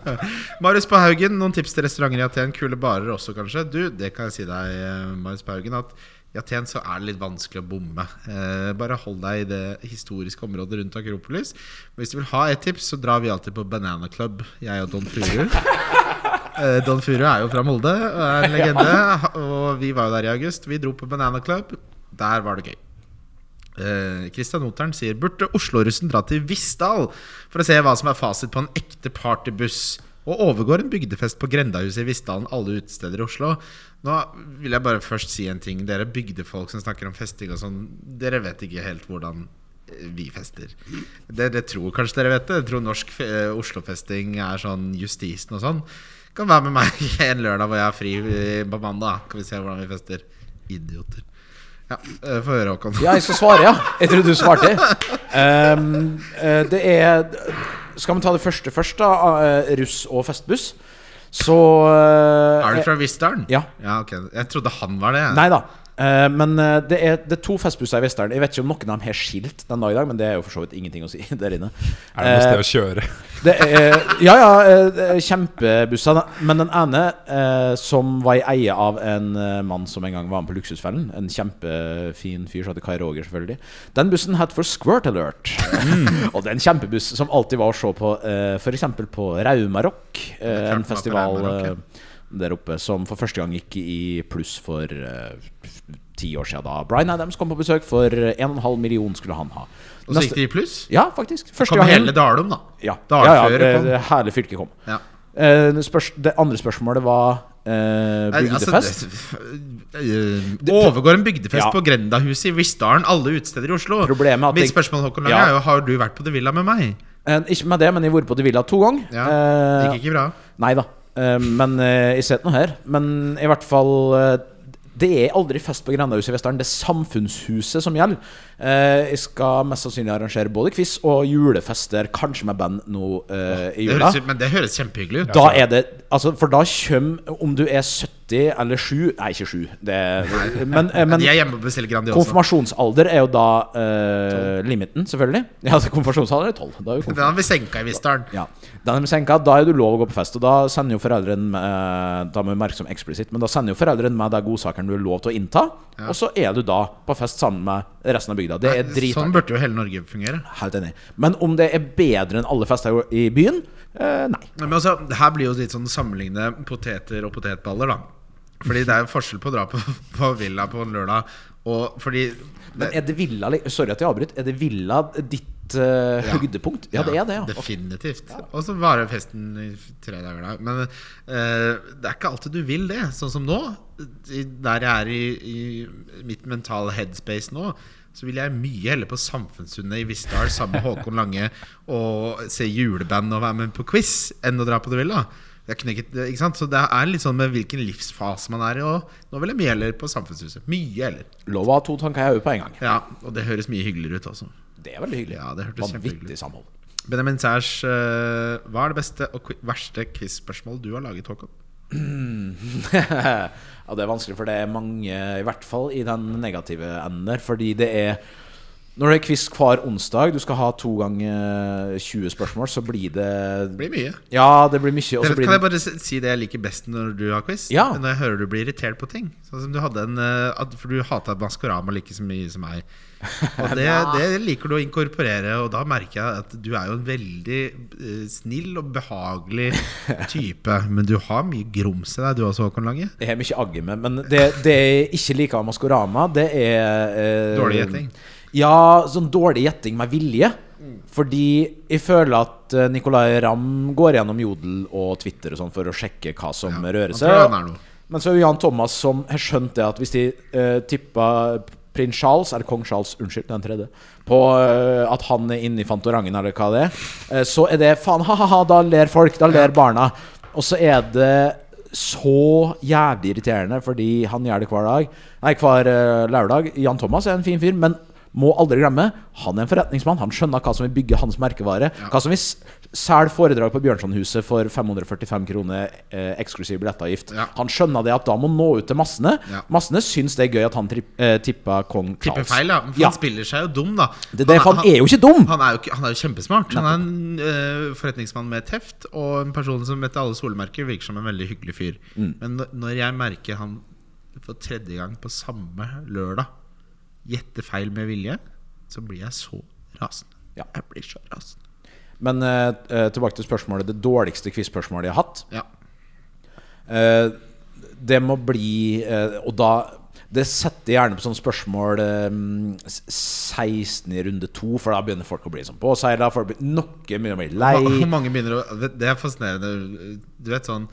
C: Marius på Haugen, noen tips til restauranter i Aten? Kule barer også, kanskje? Du, det kan jeg si deg, eh, Marius på Haugen, at i Aten så er det litt vanskelig å bomme. Eh, Bare hold deg i det historiske området rundt Akropolis. Hvis du vil ha et tips, så drar vi alltid på Banana Club, jeg og Don Furu. Eh, Don Furu er jo fra Molde og er en legende. Og vi var jo der i august. Vi dro på Banana Club. Der var det gøy. Kristian Eh, Oteren sier Burde Oslo-russen dra til Vissdal for å se hva som er fasit på en ekte partybuss? Og overgår en bygdefest på Grendahuset i Vissdalen alle utesteder i Oslo. Nå vil jeg bare først si en ting. Dere bygdefolk som snakker om festing og sånn, dere vet ikke helt hvordan eh, vi fester. Dere tror kanskje dere vet det. Dere tror norsk fe- eh, Oslo-festing er sånn justisen og sånn. Kan være med meg en lørdag hvor jeg har fri eh, på mandag. Kan vi se hvordan vi fester. Idioter. Ja, eh, få høre, Håkon.
A: Ja, jeg skal svare, ja. Jeg trodde du svarte. Ehm, eh, det er Skal vi ta det første først, da? eh, Russ og festbuss. Så eh,
C: Er du fra Vistdalen?
A: Ja.
C: ok Jeg trodde han var det. jeg.
A: Nei da. Eh, men eh, det er, det er to festbusser i Vestern. Jeg vet ikke om noen av dem har skilt den dag i dag, men det er jo for så vidt ingenting å si der inne. Eh,
D: Er det noe sted å kjøre?
A: Det er, ja, ja, eh, det er kjempebusser. Men den ene, eh, som var i eie av en eh, mann som en gang var med på Luksusfellen, en kjempefin fyr som heter Kai Roger, selvfølgelig, den bussen het for Squirt Alert.
C: Mm.
A: Og det er en kjempebuss som alltid var å se på, eh, for f.eks. på Raumarock, eh,
C: klart den var
A: en
C: på
A: festival
C: Raumarock, ja.
A: eh, der oppe som for første gang gikk i pluss for eh, ti år siden, da Bryan Adams kom på besøk, for eh, 1,5 million skulle han ha.
C: Og så gikk det i pluss.
A: Ja, faktisk. Første
C: Kom
A: gangen-
C: hele Dalum, da.
A: ja, ja, ja
C: Dalfører
A: det,
C: kom.
A: det herlige fylket kom.
C: Ja.
A: Eh, spørs, det andre spørsmålet var eh,
C: Nei, altså,
A: bygdefest.
C: det- øh, overgår en bygdefest
A: Ja.
C: på Grendahuset i Vissdalen, alle utesteder i Oslo.
A: Problemet er at
C: Mitt
A: jeg-
C: spørsmål Håkon Lange,
A: Ja.
C: er jo har du vært på The Villa med meg.
A: Eh, ikke med det, men jeg har vært på De Villa to ganger.
C: Ja,
A: Eh,
C: Det gikk ikke bra.
A: Nei da. Eh, men eh, jeg ser ikke noe her. Men i hvert fall eh, Det er aldri fest på Grendahuset i Vestern. Det er samfunnshuset som gjelder. Eh, jeg skal mest sannsynlig arrangere både quiz og julefest der, kanskje med band nå eh, i
C: Det
A: jula.
C: høres, ut- men det høres kjempehyggelig ut.
A: Da er det altså, For da kommer Om du er 70 eller 7 Nei, ikke 7. Det, men, eh, men
C: De er hjemme og bestiller Grandiosa.
A: Konfirmasjonsalder er jo da eh, limiten, selvfølgelig. Ja, altså, konfirmasjonsalder er tolv. Da er jo
C: Den
A: konfirm
C: har vi senka i Vissdalen.
A: ja. Den er senka, da er du lov å gå på fest. Og da sender jo foreldrene med- eh, Da må vi merke som eksplisitt, men da sender jo foreldrene med de godsakene du er lov til å innta. Og så er du da på fest sammen med resten av bygda. Det er
C: Sånn
A: dritartig.
C: burde jo hele Norge fungere.
A: Helt enig. Men om det er bedre enn alle fester i byen? Eh, nei.
C: Nei, Men altså, det her blir jo litt sånn sammenligne poteter og potetballer, da. Fordi det er jo forskjell på å dra på, på villa på en lørdag og fordi
A: Men er det villa li- Sorry at jeg avbryter. Er det villa ditt eh, høydepunkt? Ja, det er det, ja.
C: Definitivt. Og så varer festen i tre dager, da. Men eh, det er ikke alltid du vil det. Sånn som nå. I, der jeg er i, i mitt mentale headspace nå, så vil jeg mye heller på Samfunnssundet i Vistdal sammen med Håkon Lange og se juleband og være med på quiz enn å dra på det villa. Jeg kunne ikke, det- ikke sant? Så det er litt sånn med hvilken livsfase man er i. Og nå vil jeg mye heller på Samfunnshuset. Mye heller.
A: Lov å ha to tanker i hodet på en gang.
C: Ja, og det høres mye hyggeligere ut også.
A: Det er veldig hyggelig.
C: Ja, det hørtes kjempehyggelig
A: Vanvittig samhold.
C: Benjamin Sæsj, eh, hva er det beste og qui- verste quiz-spørsmål du har laget, Håkon?
A: ja, det er vanskelig, for det er mange, i hvert fall i den negative enden der, fordi det er Når det er quiz hver onsdag, du skal ha to ganger 20 spørsmål, så blir det
C: Det blir mye.
A: Ja, det blir mye. Og så
C: Dere,
A: blir
C: kan jeg
A: det
C: bare s- si det jeg liker best når du har quiz?
A: Ja.
C: Når jeg hører du blir irritert på ting. Sånn som du hadde en eh, at- For du hata Maskorama like så mye som meg. Og det, det liker du å inkorporere, og da merker jeg at du er jo en veldig eh, snill og behagelig type. Men du har mye grums i deg, du også, Håkon Lange.
A: det er mye agg med. Men det, det jeg ikke liker av Maskorama, det er eh,
C: Dårlig gjetting.
A: Ja, sånn dårlig gjetting med vilje. Fordi jeg føler at eh, Nicolay Ramm går gjennom Jodel og Twitter og sånn for å sjekke hva som rører
C: han
A: seg.
C: tror han er noe.
A: Men så er jo Jan Thomas som har skjønt det at hvis de uh, tippa prins Charles, eller kong Charles, unnskyld, den tredje, på eh, at han er inne i Fantorangen, eller hva det er, eh, så er det faen ha-ha-ha, da ler folk, da ler barna. Og så er det så jævlig irriterende, fordi han gjør det hver dag. Nei, hver eh, lørdag. Jan Thomas er en fin fyr, men må aldri glemme, han er en forretningsmann. Han skjønner hva som vil bygge hans merkevare. Hva som vil s- selge foredrag på Bjørnsonhuset for 545 kroner eh, eksklusiv billettavgift.
C: Ja.
A: Han skjønner det at da må han nå ut til massene.
C: Ja.
A: Massene syns det er gøy at han tri- eh, tippa kong
C: Tipper
A: Charles.
C: feil, ja. For
A: Ja.
C: han spiller seg jo dum, da.
A: Det, det, for han er jo ikke dum!
C: Han er jo, ikke- han er jo kjempesmart. Han er en eh, forretningsmann med teft og en person som etter alle solemerker virker som en veldig hyggelig fyr.
A: Mm.
C: Men når- når jeg merker han for tredje gang på samme lørdag gjette feil med vilje, så blir jeg så rasende.
A: Ja.
C: Jeg blir så rasende.
A: Men eh, eh, tilbake til spørsmålet. Det dårligste quiz-spørsmålet jeg har hatt.
C: Ja.
A: Eh, det må bli eh, Og da Det setter jeg gjerne på sånne spørsmål eh, s- 16 i runde 2, for da begynner folk å bli sånn påseila. Folk blir noe begynner å bli
C: Hvor
A: lei.
C: mange begynner å Det er fascinerende. Du vet sånn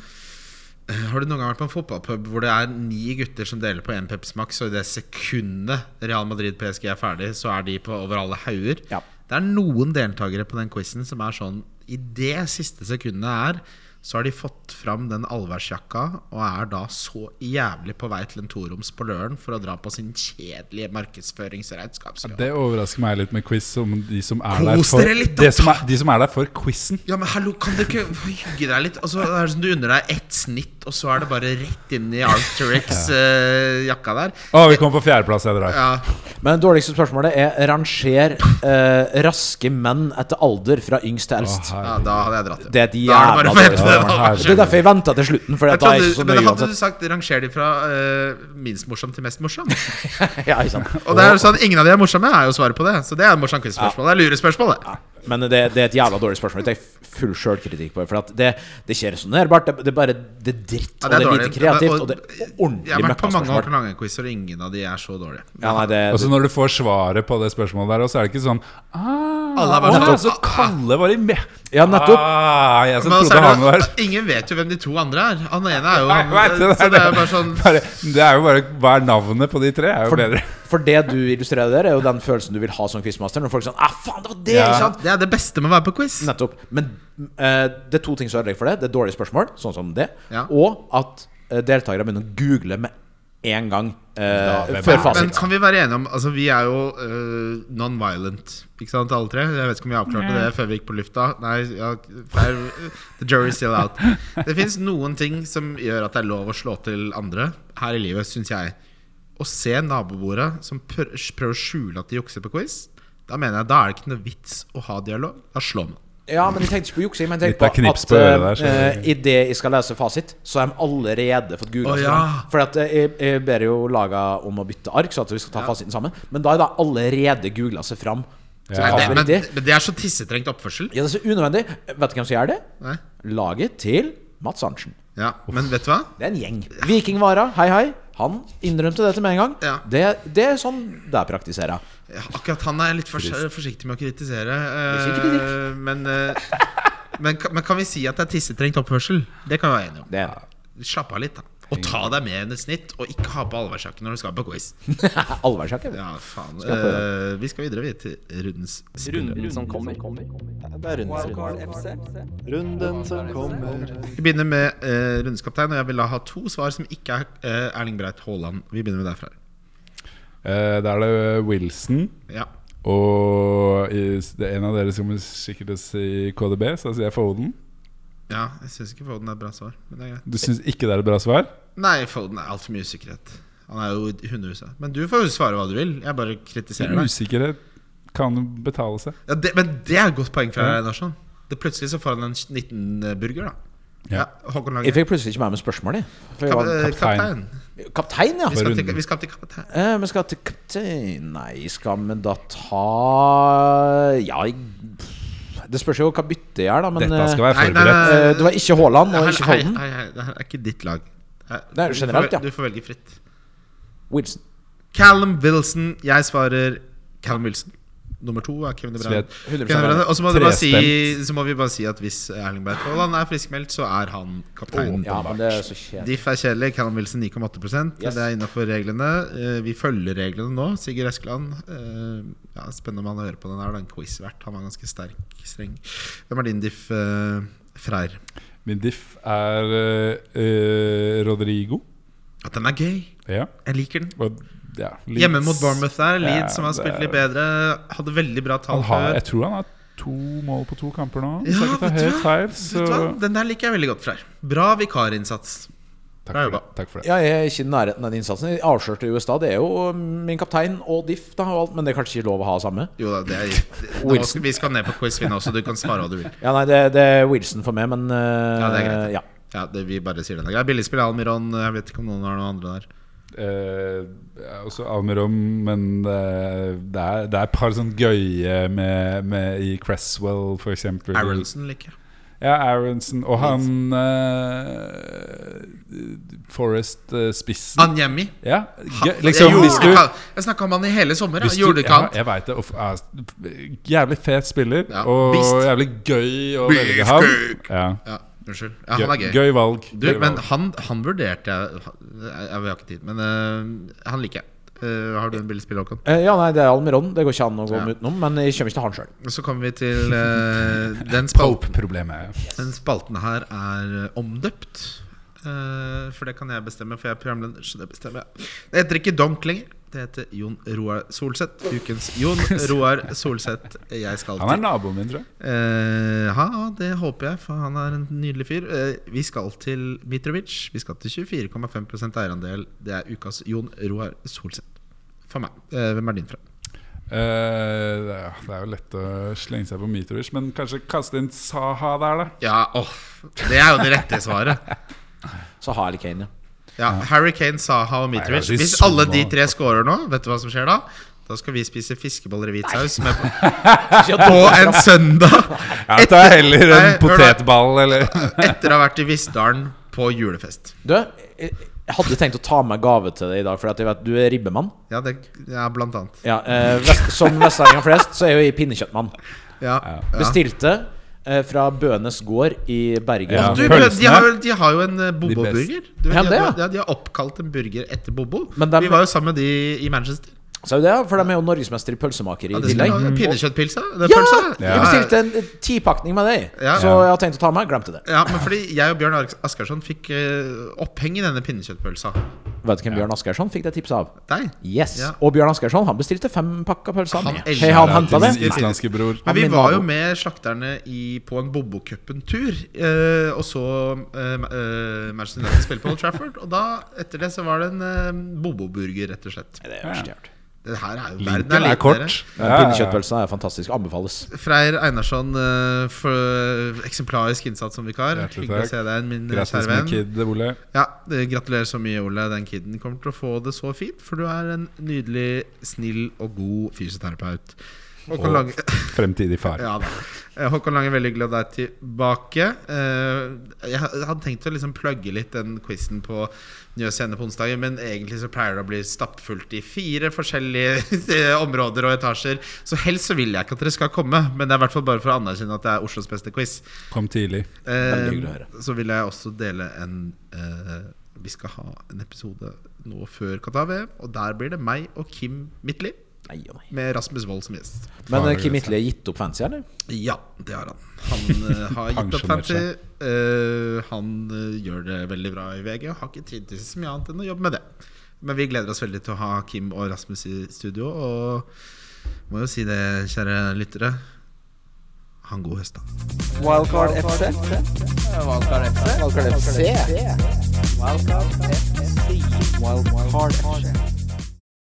C: har du noen gang vært på en fotballpub hvor det er ni gutter som deler på en Peps Max, og i det sekundet Real Madrid PSG er ferdig, så er de på over alle hauger?
A: Ja.
C: Det er noen deltakere på den quizen som er sånn I det siste sekundet er så har de fått fram den allværsjakka og er da så jævlig på vei til en toroms på Løren for å dra på sin kjedelige markedsføringsregnskapsjobb.
D: Det overrasker meg litt med quiz. Om de som er
C: Kos
D: der for,
C: dere litt, da.
D: de som er, de som er der for quizen.
C: Ja, men hallo, kan du ikke hygge deg litt? Altså, det er som Du unner deg ett snitt, og så er det bare rett inn i Arcturex-jakka der.
D: Å, vi kom på fjerdeplass. jeg drar.
C: Ja,
A: Men det dårligste spørsmålet er ranger eh, raske menn etter alder fra yngst til eldst.
D: Å,
C: ja, da hadde jeg dratt det.
A: Det er de
C: Da er det
A: jævla
C: bare å
A: dårlige.
C: vente til det
D: her-
A: Det er derfor jeg venta til slutten. Fordi
C: Jeg
A: at da er jeg
C: trodde,
A: ikke så
C: men
A: nøye
C: hadde du
A: uansett.
C: sagt 'ranger de fra eh, minst morsom til mest morsom'?
A: Ja, ikke sant.
C: Og det er jo sånn, ingen av de er morsomme, er jo svaret på det. Så det er et morsomt quizspørsmål. Det er lurespørsmål, det.
A: Men det, det er et jævla dårlig spørsmål. Det er full sjølkritikk på det. For at det, det er ikke resonerbart. Det, det er bare det er dritt,
C: Ja,
A: og det er lite
C: dårlig.
A: kreativt, og,
C: Og-
A: det er
C: Jeg har
A: ordentlig
C: vært på mange
A: møkkaspørsmål.
C: Håkonlange-quizer, og ingen av de er så dårlige.
A: Ja, nei, det,
D: Altså Når du får svaret på det spørsmålet der, og så er det ikke sånn ah,
C: Alle er bare
D: å,
C: sånn,
D: Så kalde var de med!
A: Ja, nettopp.
D: Ah, jeg som
C: Men også
D: trodde han
C: er
D: var
C: det, ingen vet jo hvem de to andre er. Han ene er jo
D: Nei, vet du,
C: Så det er jo bare sånn
D: bare, det er jo bare Hva er navnet på de tre? er jo
A: for,
D: bedre.
A: for det du illustrerer der, er jo den følelsen du vil ha som quizmaster. Når folk sier sånn ah, faen, det var det,
D: Ja.
A: ikke sant?
C: Det er det beste med å være på quiz.
A: Nettopp. Men eh, det er to ting som ødelegger for det. Det er dårlige spørsmål, sånn som det,
C: Ja.
A: og at eh, deltakere begynner å google med en gang eh,
D: hvem er-
A: før
C: Men
A: fasit.
C: kan vi være enige om Altså, vi er jo øh, non-violent, ikke sant, alle tre? Jeg vet ikke om vi avklarte det før vi gikk på lufta. Nei, ja, feil. the jury's still out. Det fins noen ting som gjør at det er lov å slå til andre her i livet, syns jeg. Å se nabobordet som prø- prøver å skjule at de jukser på quiz, da mener jeg da er det ikke noe vits å ha dialog. Da slår man.
A: Ja, men jeg tenkte ikke på juksing. Men jeg
D: Litt av
A: tenkte på
D: knips
A: at
D: på øret der,
A: uh,
D: så-
A: idet jeg skal lese fasit, så har de allerede fått googla.
C: Å, ja.
A: For at eh, jeg, jeg ber jo laga om å bytte ark, så at vi skal ta fasiten sammen. Men da er det allerede googla seg fram. Så
D: Ja.
A: hva
C: Det,
A: som er
C: men,
A: riktig.
C: men det er så tissetrengt oppførsel.
A: Ja, det er så unødvendig. Vet du hvem som gjør det?
C: Nei.
A: Laget til Mats Arntzen.
C: Ja, men vet du hva?
A: Det er en gjeng. Vikingvara, hei, hei. Han innrømte dette med en gang.
C: Ja.
A: Det, det er sånn det er praktisera.
C: Ja, akkurat han er jeg litt fors forsiktig med å kritisere.
A: ikke
C: eh, men, eh, men, ka- men kan vi si at det er tissetrengt oppførsel? Det kan vi være enige om.
A: Det er
C: Slapp av litt, da. Og ta deg med enn et snitt, og ikke ha på allværsjakke når du skal på quiz.
A: alvorsjakke.
C: Ja, faen
A: jeg prøve
C: Eh, Vi skal videre vi, til rundens
E: Runden som kommer.
F: Runden som kommer.
C: Vi begynner med eh, rundens kaptein, og jeg vil da ha to svar som ikke er eh, Erling Breit Haaland. Vi begynner med deg, Frær.
D: Eh, Da er det Wilson
C: Ja.
D: og i- det er en av dere som sikkert si KDB, så da sier jeg Foden.
C: ja, jeg syns ikke Foden er et bra svar, men det er greit.
D: Du syns ikke det er et bra svar?
C: Nei, Foden er altfor mye usikkerhet. Han er jo i hundehuset. Men du får jo svare hva du vil. Jeg bare kritiserer deg.
D: Usikkerhet kan betale seg.
C: Ja, det, men det er et godt poeng fra Larsson. Det Plutselig så får han en 19-burger, da. Ja, Håkon Lange.
A: Jeg fikk plutselig ikke med meg spørsmålet. jeg. For jeg
C: Kap,
A: var
C: eh, kaptein.
D: kaptein.
A: kaptein, ja.
C: Vi skal, til,
D: runden.
C: vi skal til kaptein.
A: Eh, men skal til kaptein Nei, skal vi da ta Ja, jeg, det spørs jo hva byttet jeg er, da. Men
D: Dette skal
A: eh,
D: være
C: Nei, nei,
D: forberedt.
C: nei,
A: eh, det var ikke Haaland og
C: Hei,
A: ikke
C: hei,
A: Holden.
C: hei, hei, det her er ikke ditt lag. Her-
A: Det er jo
C: du får
A: generelt,
C: vel-
A: ja.
C: Du får velge fritt.
A: Wilson.
C: Callum Wilson. Jeg svarer Callum Wilson. Nummer to er Kevin De Bruyne.
D: Slet.
A: 100%
C: Kevin De Bruyne. Og så må, du bare si,
D: Trestemt.
C: så må vi bare si at hvis Erling Braut Haaland er friskmeldt, så er han kapteinen.
A: Ja, men det er så kjedelig.
C: Diff er kjedelig. Callum Wilson 9,8
A: Yes.
C: Det er innafor reglene. Eh, Vi følger reglene nå. Sigurd Eskeland. eh, Ja, spennende om han hører på den her. Det er en quiz-vert. Han var ganske sterk, streng. Hvem er din diff, eh, Freyr?
D: Min diff er eh, eh, Rodrigo.
C: At den er gøy.
D: Ja.
C: Jeg liker den.
D: Og, ja Leeds.
C: Hjemme mot Bournemouth der. Leeds,
D: Ja,
C: som har
D: det
C: spilt
D: er-
C: litt bedre. Hadde veldig bra tall
D: Han har,
C: før.
D: jeg tror han har to mål på to kamper nå. Hvis
C: Ja,
D: jeg ikke tar
C: vet du
D: helt
C: hva?
D: feil,
C: Vet
D: så
C: du hva? Den der liker jeg veldig godt, Freyr. Bra vikarinnsats.
D: Takk
C: Bra
D: for det.
C: jobba.
D: Takk for det.
A: Ja, jeg er ikke i nærheten av den innsatsen. Jeg avslørte i USA. Det er jo um, min kaptein og diff, da, og alt, men det er kanskje ikke lov å ha samme?
C: Jo da, det er nå skal, Vi skal ned på quiz, vi nå, så du kan svare hva du vil.
A: Ja, nei, det, det er Wilson for meg, men eh,
C: Ja, det er greit.
A: ja.
C: Ja, det, vi bare sier den. Det er billigspill Almiron. eh, Jeg vet ikke om noen har noen andre der.
D: Eh, jeg er også Almirom, men eh, det er, det er et par sånne gøye med, med i Cresswell, for eksempel.
C: Aronsen liker jeg.
D: Ja, Aronson. Og han eh, Forrest eh, Spissen.
C: Anjemi.
D: ja,
C: Han-
D: gøy, liksom,
C: Mm. jeg
D: hvis du
C: gjorde- Jeg snakka om han i hele sommer.
D: hvis
C: Ja.
D: du- ja,
C: Jordekant.
D: jeg vet det. Og, f- er- jævlig fet spiller,
C: Ja,
D: og
C: beast.
D: jævlig gøy å velge ham.
C: Beefcake.
D: Ja.
C: Ja, unnskyld. Ja, han er
D: Gøy-
C: gøy.
D: Gøy valg.
C: Du,
D: gøy
C: men
D: valg.
C: han, han vurderte jeg Jeg Vi har ikke tid, men øh, han liker jeg. Øh, har du en billigspill, Håkon?
A: Eh, ja, nei, det er Almiron. Det går ikke an å gå
C: Ja.
A: utenom, men jeg kommer ikke til å ha den sjøl.
C: Så kommer vi til øh, den, spalten,
D: Pope-problemet.
C: den spalten her er øh, omdøpt. Øh, for det kan jeg bestemme, for jeg er programleder. Så det bestemmer jeg. Det heter ikke Donk lenger. Det heter Jon Roar Solseth. Ukens Jon Roar Solseth. Jeg skal
D: Han er naboen min, tror jeg.
C: Eh, ja, det håper jeg, for han er en nydelig fyr. Eh, vi skal til Mitrovic. Vi skal til 24,5 eierandel. Det er ukas Jon Roar Solseth. For meg. Eh, hvem er din fra?
D: Eh, det er- det er jo lett å slenge seg på Mitrovic, men kanskje kaste inn Saha der, da.
C: Ja, åh, det er jo det rette svaret.
A: Så har jeg Kane, ja.
C: Ja, altså, Harry Kane, Saha og
D: Nei,
C: Mitrovic.
D: jeg vil si
C: Hvis alle
D: Saha.
C: de tre scorer nå, vet du hva som skjer da? Da skal vi spise fiskeboller i hvit saus med, på
A: Ja,
C: en søndag
D: Ja, det er heller
C: Nei,
D: en
C: hør da.
D: potetball, eller
C: etter å ha vært i Vissdalen på julefest.
A: Du, jeg jeg hadde tenkt å ta med gave til deg i dag, for at jeg vet du er ribbemann.
C: Ja, det, ja blant annet.
A: Ja, eh, vest, som vestlendinger flest, så er jo jeg pinnekjøttmann.
C: Ja, ja.
A: Bestilte eh, fra Bønes gård i Bergen.
D: Ja.
C: Du,
D: Pølsene.
C: de, har, jo- de har jo en eh,
D: beste.
C: Bobo-burger. Du, de,
A: Ja,
C: har-
A: det,
C: de,
A: ja.
C: har- de har oppkalt en burger etter Bobo.
A: Men dem-
C: Vi var jo sammen med de i Manchester.
A: Så er jo det, for de er jo norgesmester i pølsemakeri
C: Ja,
A: i
C: det skulle
A: tillegg.
C: være Pinnekjøttpilsa? det er
A: Ja!
C: pølsa, det.
A: Jeg bestilte en eh, tipakning med deg,
C: Ja.
A: så jeg har tenkt å ta med. Glemte det.
C: Ja, men fordi jeg og Bjørn Ar- Askarsson fikk eh, oppheng i denne pinnekjøttpølsa.
A: Vet du hvem Bjørn Asgersson fikk det tipset av?
C: Deg.
A: Yes.
C: Ja.
A: Og Bjørn Asgersson han bestilte fem pakker pølser.
C: Han
A: Han,
C: elsker
A: hey, han
C: det.
A: henta det.
D: Din islandske bror.
C: Men
A: Han
C: vi
A: min
C: var jo
A: nabo.
C: med slakterne i, på en Bobo-cupen-tur. eh, og så eh, Ma- eh, Manchester United spille på Old Trafford. Og da, etter det så var det en eh, Bobo-burger, rett og slett.
A: Det er verst jeg har hørt.
C: Det her er jo verden
D: Linken er
C: liten, dere.
D: kort.
A: Men Pinnekjøttpølsa er fantastisk. Anbefales.
C: Freyr Einarsson, eh, for eksemplarisk innsats som vikar.
D: Hjertelig
C: Hyggelig å
D: takk.
C: se deg igjen, min eh,
D: Grattis
C: kjære
D: med
C: venn.
D: kid, Ole.
C: Ja, eh, gratulerer så mye, Ole. Den kiden kommer til å få det så fint, for du er en nydelig, snill og god fysioterapeut. Håkon
D: Og-
C: Lange,
D: Fremtidig far.
C: ja, da. Eh, Håkon Lange, veldig hyggelig å ha deg tilbake. Eh, Jeg hadde tenkt å liksom plugge litt den quizen på Njø scene på onsdager, men egentlig så pleier det å bli stappfullt i fire forskjellige eh, områder og etasjer. Så helst så vil jeg ikke at dere skal komme, men det er i hvert fall bare for å anerkjenne at det er Oslos beste quiz.
D: Kom tidlig.
A: Veldig
C: Eh,
A: hyggelig å høre.
C: så vil jeg også dele en eh, Vi skal ha en episode nå før Qatar-VM, og der blir det meg og Kim Midtly
A: Nei og nei.
C: med Rasmus Wold som gjest.
A: Men
D: Faen,
A: eh,
D: det
A: Kim
D: er
A: Hitler gitt opp fancy, eller?
C: Ja, det har han. Han eh, har gitt opp
D: Pensjonert
C: fancy.
D: seg.
C: Eh, han eh, gjør det veldig bra i VG og har ikke tid til så mye annet enn å jobbe med det. Men vi gleder oss veldig til å ha Kim og Rasmus i studio, og må jo si det, kjære lyttere. Ha en god høst, da.
B: Wildcard FC. Wildcard FC. Wildcard FC. Wildcard FC. Wildcard FC.